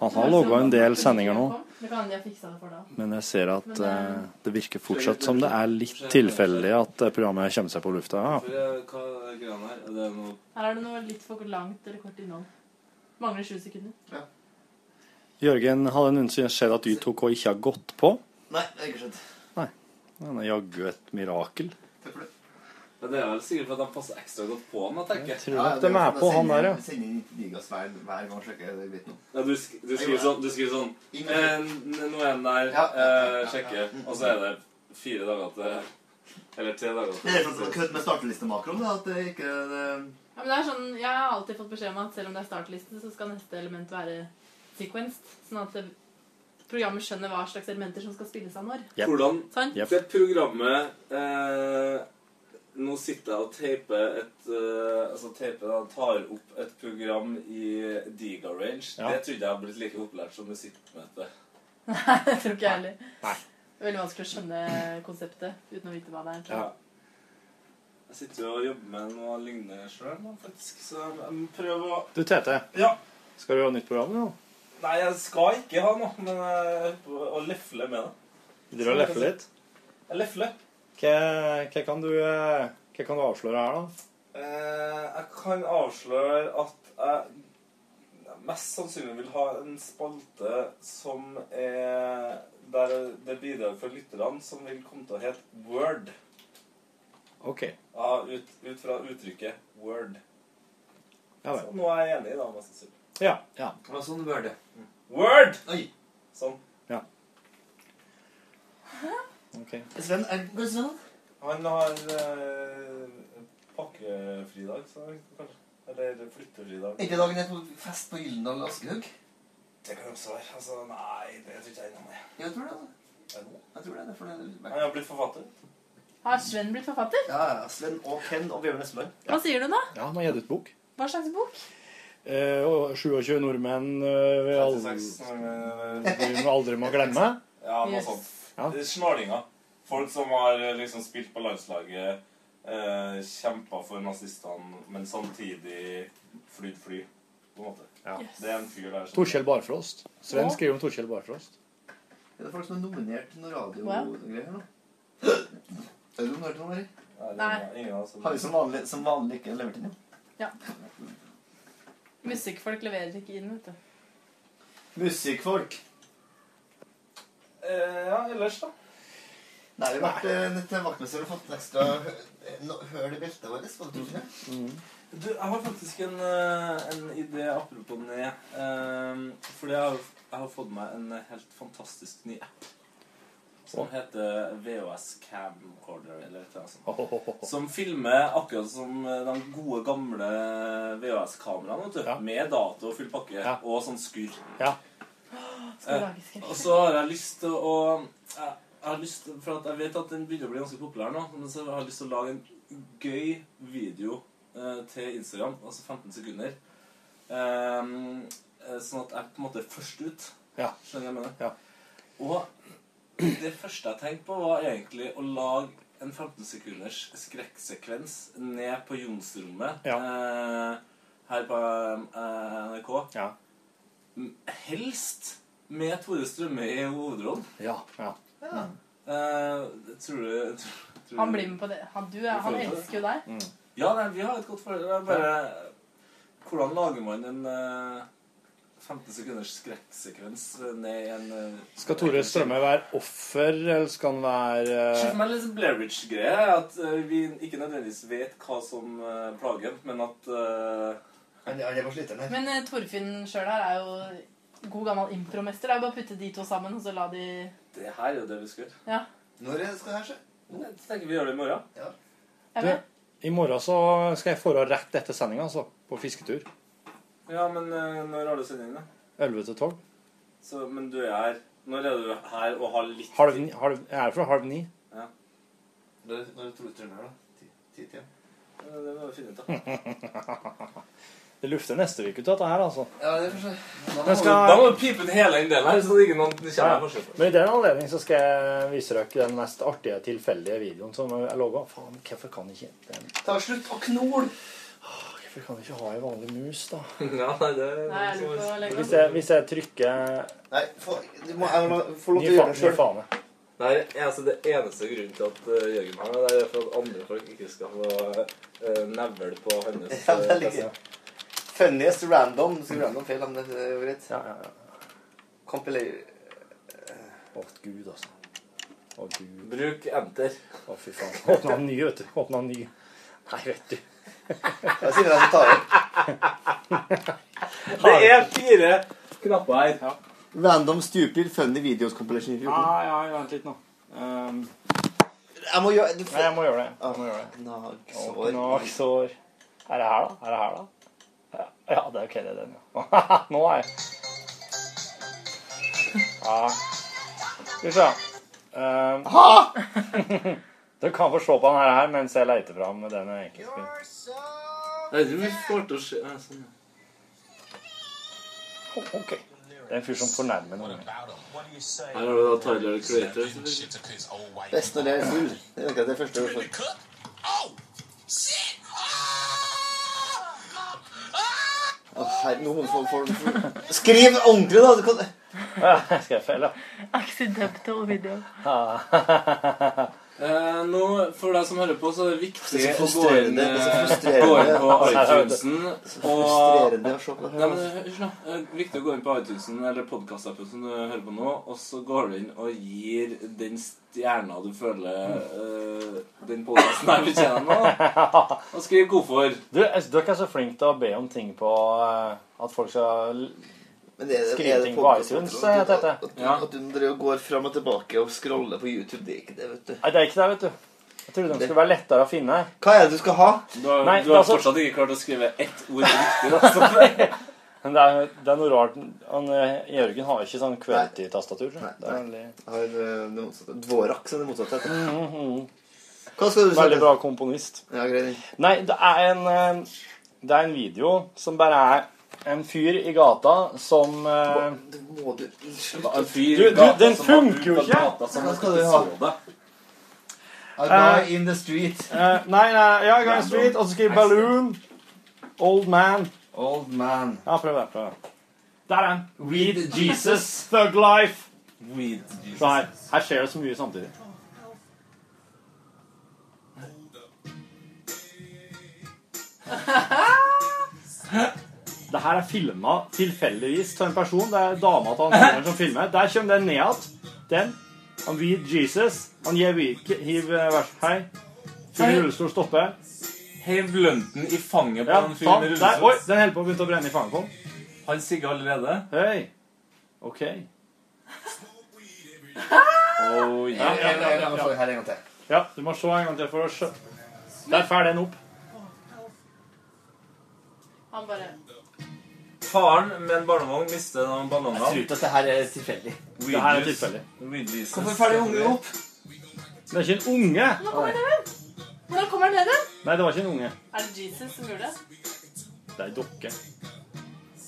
Speaker 4: Han har logga en del sendinger nå,
Speaker 14: Det kan hende jeg fiksa det for deg.
Speaker 4: men jeg ser at eh, det virker fortsatt som det er litt tilfeldig at det programmet kommer seg på lufta. Ja.
Speaker 11: For eh, hva er greia her? Er det noe
Speaker 14: Her er det noe litt for langt eller kort innhold. Mangler sju sekunder.
Speaker 4: Jørgen, hadde noensinne skjedd at Y2K ikke har gått på?
Speaker 15: Nei, det har ikke skjedd.
Speaker 4: Nei. Han er jaggu et mirakel.
Speaker 11: Ja, Det er vel sikkert for at de passer ekstra godt på han, da, tenker jeg.
Speaker 4: tror nok de er på han der, ja.
Speaker 15: Sender inn digas hver, hver gang og sjekker det greit nå.
Speaker 11: Ja, du, sk du skriver sånn, du skriver sånn eh, n- Nå er den der, eh, sjekker, og så er det fire dager til Eller tre dager.
Speaker 7: Det er for at det var kødd med startlistemakroen. da, At det ikke det-
Speaker 1: Ja, men det er sånn, jeg har alltid fått beskjed om at selv om det er startliste, så skal neste element være sequenced. Sånn at det, programmet skjønner hva slags elementer som skal spilles av når.
Speaker 11: Hvordan
Speaker 1: Sant?
Speaker 11: det programmet eh, Nå sitter jeg og teiper et eh, Altså teiper da, tar opp et program i Diga Range.
Speaker 1: Ja.
Speaker 11: Det trodde jeg hadde blitt like opplært som musikkmøte.
Speaker 1: Nei, det tror ikke jeg heller. Det er veldig vanskelig å skjønne konseptet uten å vite hva det er. tror jeg.
Speaker 11: Jeg sitter jo og jobber med noe lignende sjøl, faktisk. Så jeg må prøve å
Speaker 4: Du, Tete.
Speaker 11: Ja.
Speaker 4: Skal du ha nytt program nå?
Speaker 11: Nei, jeg skal ikke ha noe, men jeg holder på å lefle med det.
Speaker 4: Du driver og lefler litt?
Speaker 11: Jeg lefler.
Speaker 4: Hva, hva, kan du, eh, hva kan du avsløre her, da?
Speaker 11: Eh, jeg kan avsløre at jeg mest sannsynlig vil ha en spalte som er der det bidrar for lytterne, som vil komme til å hete Word.
Speaker 4: OK.
Speaker 11: Ja, ut, ut fra uttrykket Word.
Speaker 4: Ja
Speaker 11: Så nå er jeg enig, da, mest sannsynlig.
Speaker 4: Ja.
Speaker 11: Ja, sånn Word, ja. Word! Oi. Sånn.
Speaker 4: Ok.
Speaker 11: Sven, er det sånn? Han har eh, pakkefridag, så kanskje. Eller flyttefridag.
Speaker 7: Ikke dagen er på fest på Gyldendal Askehaug.
Speaker 11: Det kan også være. Altså, nei, det tror ikke jeg innom det.
Speaker 7: Jeg tror det, altså. Jeg tror det, det er for det.
Speaker 11: Han har blitt forfatter.
Speaker 1: Har Sven blitt forfatter?
Speaker 7: Ja, ja. Sven og Ken og Bjørn Espeland.
Speaker 1: Hva sier du da?
Speaker 4: Ja, han har gitt ut bok.
Speaker 1: Hva slags bok?
Speaker 4: Eh, og 27 nordmenn eh, vi aldri,
Speaker 11: 36 nordmenn, eh,
Speaker 4: vi aldri må glemme.
Speaker 11: Ja, noe
Speaker 4: Yes.
Speaker 11: sånt. Det sånn. er Snarlinger. Folk som har eh, liksom spilt på landslaget, eh, kjempa for nazistene, men samtidig flydd fly, på en måte.
Speaker 4: Yes.
Speaker 11: Det er en fyr der som
Speaker 4: Torkjell Barfrost. Sven
Speaker 7: Ja.
Speaker 4: skriver om Torkjell Barfrost.
Speaker 7: Det er folk som er nominert til noen
Speaker 1: Wow.
Speaker 7: radiogreier nå. Er du nominert til noe, Mari?
Speaker 1: Nei.
Speaker 11: ingen av oss er-
Speaker 7: Har vi som vanlig, som vanlig ikke levert inn, ja?
Speaker 1: Ja. Musikkfolk leverer ikke inn, vet du.
Speaker 7: Musikkfolk.
Speaker 11: Eh, ja, ellers, da?
Speaker 7: Nei, vi har vært eh, til vaktmester og fått en ekstra hø- no- høl i beltet vårt. Var det ikke det?
Speaker 11: Du, jeg har faktisk en, eh, en idé apropos ned. Um, fordi jeg har, jeg har fått meg en helt fantastisk ny app. Som heter VHS Camcorder, eller et eller annet sånt. Som filmer akkurat som eh, de gode, gamle VHS-kameraene. vet du. Med dato og full pakke. Og sånn skurr.
Speaker 1: Skal
Speaker 11: Eh,
Speaker 1: lage skrekk.
Speaker 11: og så har jeg lyst til å jeg, jeg har lyst til, For at jeg vet at den begynner å bli ganske populær nå. Men så har jeg lyst til å lage en gøy video eh, til Instagram. Altså 15 sekunder. Ehm, eh, sånn at jeg på en måte er først ut.
Speaker 4: Ja.
Speaker 11: Skjønner du hva jeg mener? Og det første jeg tenkte på, var egentlig å lage en 15 sekunders skrekksekvens ned på Jonsrommet eh, her på eh, NRK. M- Helst med Tore Strømme i hovedrollen.
Speaker 4: Ja, ja.
Speaker 1: Ja.
Speaker 11: Eh, tror du tror, tror
Speaker 1: Han
Speaker 11: du-
Speaker 1: blir med på det. Han, du, er- han elsker jo deg.
Speaker 11: Mm. Ja, nei, vi har et godt forhold. Det er bare Hvordan lager man en eh, 15 sekunders skrekksekvens eh, ned i en eh,
Speaker 4: Skal Tore Strømme være offer, eller skal han være eh,
Speaker 11: Se for meg litt sånn Blair Witch-greie. er At eh, vi ikke nødvendigvis vet hva som eh, plager ham, men at eh,
Speaker 7: det var sliteren
Speaker 1: Men eh, Torfinn sjøl her er jo god gammel impromester. Det er jo bare å putte de to sammen, og så la de
Speaker 11: Det her er jo det vi skal gjøre.
Speaker 1: Ja.
Speaker 7: Når skal det her skje?
Speaker 11: Jeg tenker vi gjør det i morgen.
Speaker 1: Jeg
Speaker 4: Du,
Speaker 1: vet.
Speaker 4: I morgen så skal jeg dra rett etter sendinga, altså. På fisketur.
Speaker 11: Ja, men eh, når har du sending, da?
Speaker 4: 11 til 12.
Speaker 11: Så, men du er her. Når er du her og har litt
Speaker 4: Halv ni, halv, jeg er fra halv ni.
Speaker 11: Ja.
Speaker 7: Når er Tore Strømme her, da? Ti-tida?
Speaker 11: Eh, Det må vi finne ut av.
Speaker 4: det lufter neste uke ut, dette her, altså.
Speaker 7: Ja, det får se.
Speaker 11: Da må,
Speaker 4: Men skal-
Speaker 11: du, da må du pipe ut hele den delen her, så det ikke noen kjenner
Speaker 4: Ja, ja.
Speaker 11: forskjell.
Speaker 4: Men i den anledning så skal jeg vise dere den mest artige, tilfeldige videoen som jeg laga. Faen, hvorfor kan ikke den
Speaker 7: Ta slutt å knole!
Speaker 4: Hvorfor kan jeg ikke ha ei vanlig mus, da?
Speaker 11: Ja, nei, det er
Speaker 7: Nei, jeg lurer på å legge
Speaker 4: hvis, jeg, hvis jeg trykker
Speaker 7: Nei, få, du må, jeg må få lov
Speaker 4: Gi
Speaker 7: til å
Speaker 4: faen,
Speaker 7: gjøre det
Speaker 4: gi
Speaker 7: sjøl.
Speaker 4: faen.
Speaker 11: Nei, altså Det eneste grunnen til at eh, Jørgen har det, det er for at andre folk ikke skal få uh, nevl på hans
Speaker 7: Ja, det
Speaker 11: eh,
Speaker 7: er like.
Speaker 11: PC.
Speaker 7: Funniest random. Du skriver random feil, men det er jo greit.
Speaker 4: Ja, ja, ja.
Speaker 7: Compilate
Speaker 4: Å, gud, altså. Å, gud.
Speaker 11: Bruk enter.
Speaker 4: Å, fy faen. Åpna en ny, vet du. Åpna en ny. Nei, vet du.
Speaker 7: Jeg sier det som tar
Speaker 11: Det er fire knapper her.
Speaker 4: Ah,
Speaker 7: Random stupid funny videos compilation review.
Speaker 4: Ja, ja, vent litt nå. Um,
Speaker 16: Jeg må gjøre det.
Speaker 4: Ehm, Nei, jeg må gjøre det.
Speaker 16: Jeg må gjøre det. Gnagsår.
Speaker 4: Gnagsår. Er det her, da? Er det her, da? Ja, ja, det er ok, det er den, ja. Nå er jeg Ja. Skal vi se. Um, du kan få se på den her her mens jeg leter fram den jeg egentlig skulle
Speaker 11: Jeg vet ikke om vi får til å se Nei, sånn. ja.
Speaker 4: Å, OK. Det er en fyr som fornærmer noen.
Speaker 11: Her har du da Tyler the Creator. som sier.
Speaker 16: Best når jeg er full. Det er akkurat det første jeg får. Å, herre, nå får folk Skriv ordentlig, da! Du kan...
Speaker 4: Skal jeg felle?
Speaker 17: Accidental video.
Speaker 11: Eh, nå, for deg som hører på, så er det viktig
Speaker 16: Det er så
Speaker 11: å gå inn,
Speaker 16: frustrerende, det er så
Speaker 11: eh,
Speaker 16: frustrerende.
Speaker 11: gå inn på iTunesen
Speaker 16: Så
Speaker 11: og
Speaker 16: frustrerende å se på det her,
Speaker 11: Nei, men eh, hør nå. Det er viktig å gå inn på iTunesen eller podkastappen som du hører på nå, og så går du inn og gir den stjerna du føler eh, den podkasten her fortjener nå. Og skriv hvorfor.
Speaker 4: Du, jeg- du er ikke så flink til å be om ting på eh, At folk skal l- skrive ting på iTunes, eh,
Speaker 16: At,
Speaker 4: heter det.
Speaker 16: at, at du driver og går fram og tilbake og scroller på YouTube, det er ikke det, vet du.
Speaker 4: Nei, det er ikke det, vet du. Jeg trodde de skulle være lettere å finne.
Speaker 16: Hva er det du skal ha?
Speaker 11: Du har,
Speaker 4: Nei,
Speaker 11: du har
Speaker 4: altså-
Speaker 11: fortsatt ikke klart å skrive ett ord riktig. da, så-
Speaker 4: Men det er, det er noe rart han, eh, Jørgen har ikke sånn QWERTY-tastatur. Nei, det er veldig...
Speaker 16: Har eh, det motsatte. Dvorak, som det motsatte heter. Hva skal du si?
Speaker 4: Veldig bra komponist.
Speaker 16: Ja, greit.
Speaker 4: Nei, det er en eh, Det er en video som bare er en fyr i gata som eh,
Speaker 16: Må du
Speaker 11: En fyr
Speaker 4: Du,
Speaker 11: i
Speaker 4: du,
Speaker 11: gata
Speaker 4: den
Speaker 11: som var
Speaker 4: funker jo
Speaker 11: ute på
Speaker 4: ikke!
Speaker 11: gata som
Speaker 16: Hva
Speaker 11: han
Speaker 16: skal
Speaker 11: ikke
Speaker 16: du ha?
Speaker 11: så deg.
Speaker 16: A
Speaker 4: Eh,
Speaker 16: guy in the street.
Speaker 4: eh, nei, nei, ja, Gang Street, og så skriver Balloon. Old Man.
Speaker 16: Old Man.
Speaker 4: Ja, prøv det. prøv det. Der er han.
Speaker 11: Weed Jesus.
Speaker 4: Thug Life.
Speaker 11: Weed
Speaker 4: Se her. Her skjer det så mye samtidig. Det her er filma tilfeldigvis av en person. Det er dama til han fyren som filmer. Der kommer den ned igjen. Den. Han vil Jesus. Han gir vike. Hiv eh, vers. Hei. Fyren i rullestol stopper.
Speaker 11: Hev lønten i fanget på
Speaker 4: Ja,
Speaker 11: den
Speaker 4: sånn.
Speaker 11: fyren i
Speaker 4: Der. Oi,
Speaker 11: rullestol.
Speaker 4: den holder på å begynne å brenne i fanget på ham.
Speaker 11: Han sigger allerede.
Speaker 4: Hei. OK.
Speaker 11: Oh,
Speaker 4: Ja, ja, ja, ja, ja.
Speaker 16: Her en gang til.
Speaker 4: Ja, du må se en gang til for å skjø... Der får den opp.
Speaker 17: Han bare
Speaker 11: Faren med en barnevogn mister noen ballonger.
Speaker 16: Jeg tror ikke at det her er tilfeldig.
Speaker 4: Det her er tilfeldig.
Speaker 11: Hvorfor får de unge opp?
Speaker 4: Det er ikke en unge.
Speaker 17: Hvordan kommer han ned igjen? Hvordan kommer han ned igjen?
Speaker 4: Nei, det var ikke en unge.
Speaker 17: Er det Jesus som gjorde det?
Speaker 4: Det er ei dokke.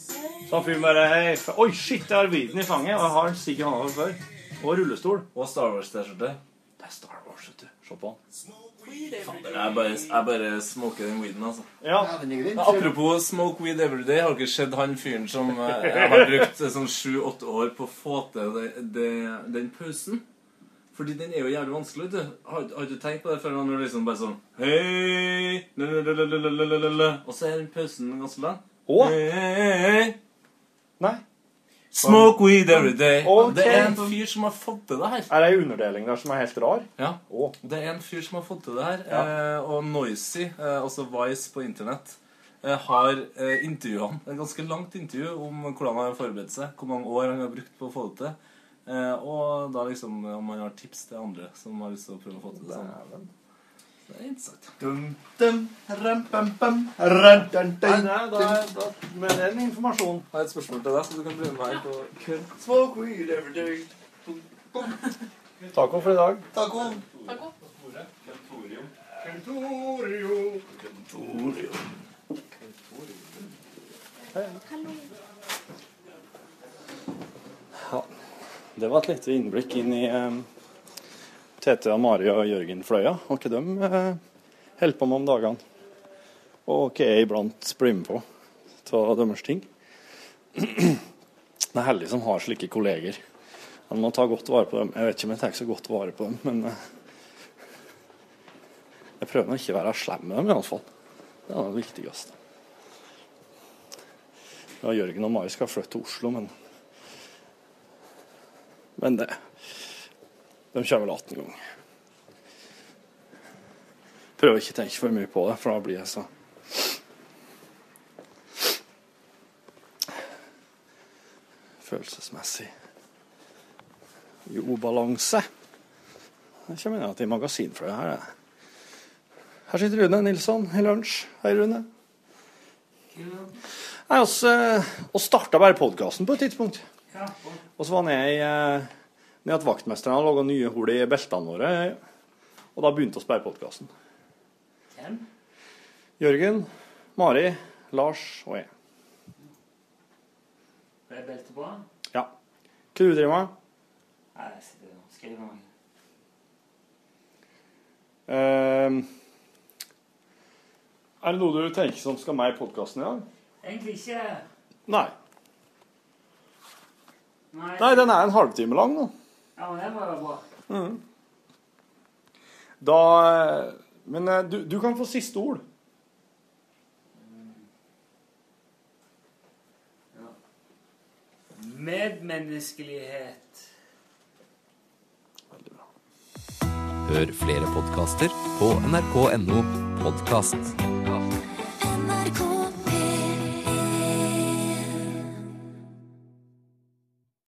Speaker 4: Så han fyren bare hei, f- Oi, shit, jeg har viden i fanget. Og jeg har sikkert hånda over før. Og rullestol.
Speaker 11: Og Star Wars-T-skjorte.
Speaker 4: Det er Star Wars, vet du. Se på han.
Speaker 11: Jeg bare, jeg bare smoker den weeden, altså.
Speaker 4: Ja.
Speaker 11: Men apropos smoke weed everyday, har dere sett han fyren som eh, har brukt eh, sånn sju-åtte år på å få til det, det, den pausen? Fordi den er jo jævlig vanskelig, vet du. Har, har du tenkt på det før? Når du liksom bare sånn Hei! lalalalalalala, Og så er den pausen ganske lang.
Speaker 4: Å?
Speaker 11: Hei!
Speaker 4: Nei.
Speaker 11: Smoke weed everyday.
Speaker 4: Ok.
Speaker 11: Det er en fyr som har fått til det her.
Speaker 4: Er det ei underdeling der som er helt rar?
Speaker 11: Ja.
Speaker 4: Å.
Speaker 11: Det er en fyr som har fått til det her, eh, og Noisy, eh, altså Vice på internett, eh, har eh, intervjua han. Et ganske langt intervju om hvordan han har forberedt seg, hvor mange år han har brukt på å få det til. Eh, og da liksom eh, om han har tips til andre som har lyst til å prøve å få til det sånn. Det er interessant.
Speaker 16: Dum, dum, ram, bam, bam, ram, dun,
Speaker 4: Nei,
Speaker 16: dun,
Speaker 4: nei, da,
Speaker 16: dun.
Speaker 4: da, med den informasjonen
Speaker 11: Jeg har et spørsmål til deg, så du kan bli med meg på kødd.
Speaker 16: Smoke weed every day. Boom, boom.
Speaker 4: Taco for i dag.
Speaker 16: Taco.
Speaker 17: Taco.
Speaker 4: Det var et lite innblikk inn i eh, Tete og Mari og Jørgen Fløya. Og hva de eh, holder på med om dagene. Og hva jeg iblant blir med på av deres ting. Det er heldig som har slike kolleger. Man må ta godt vare på dem. Jeg vet ikke om jeg tar så godt vare på dem, men eh, jeg prøver nå ikke å være slem med dem, iallfall. Det er det viktigste. Ja, Jørgen og Mari skal flytte til Oslo, men men det De kommer vel 18 ganger. Prøver ikke å tenke for mye på det, for da blir jeg så Følelsesmessig i ubalanse. Jeg kommer inn igjen i magasinfløya her. jeg. Her sitter Rune Nilsson i lunsj. Hei, Rune. Nei, oss, eh, oss starta bare podkasten på et tidspunkt. Og så var ned i eh, ned at vaktmesteren hadde laga nye hull i beltene våre. Og da begynte oss bare podkasten. Jørgen, Mari, Lars og jeg.
Speaker 3: Ble beltet på?
Speaker 4: Ja. Hva du driver med?
Speaker 3: Nei, jeg sitter og skriver noe.
Speaker 4: Eh, er det noe du tenker som skal med i podkasten i dag?
Speaker 3: Egentlig ikke.
Speaker 4: Nei.
Speaker 3: Nei.
Speaker 4: Nei, den er en halvtime lang nå.
Speaker 3: Ja, men det må være bra.
Speaker 4: Mhm. Da eh, Men eh, du, du kan få siste ord.
Speaker 3: Medmenneskelighet.
Speaker 8: Hør flere podkaster på nrk.no podkast.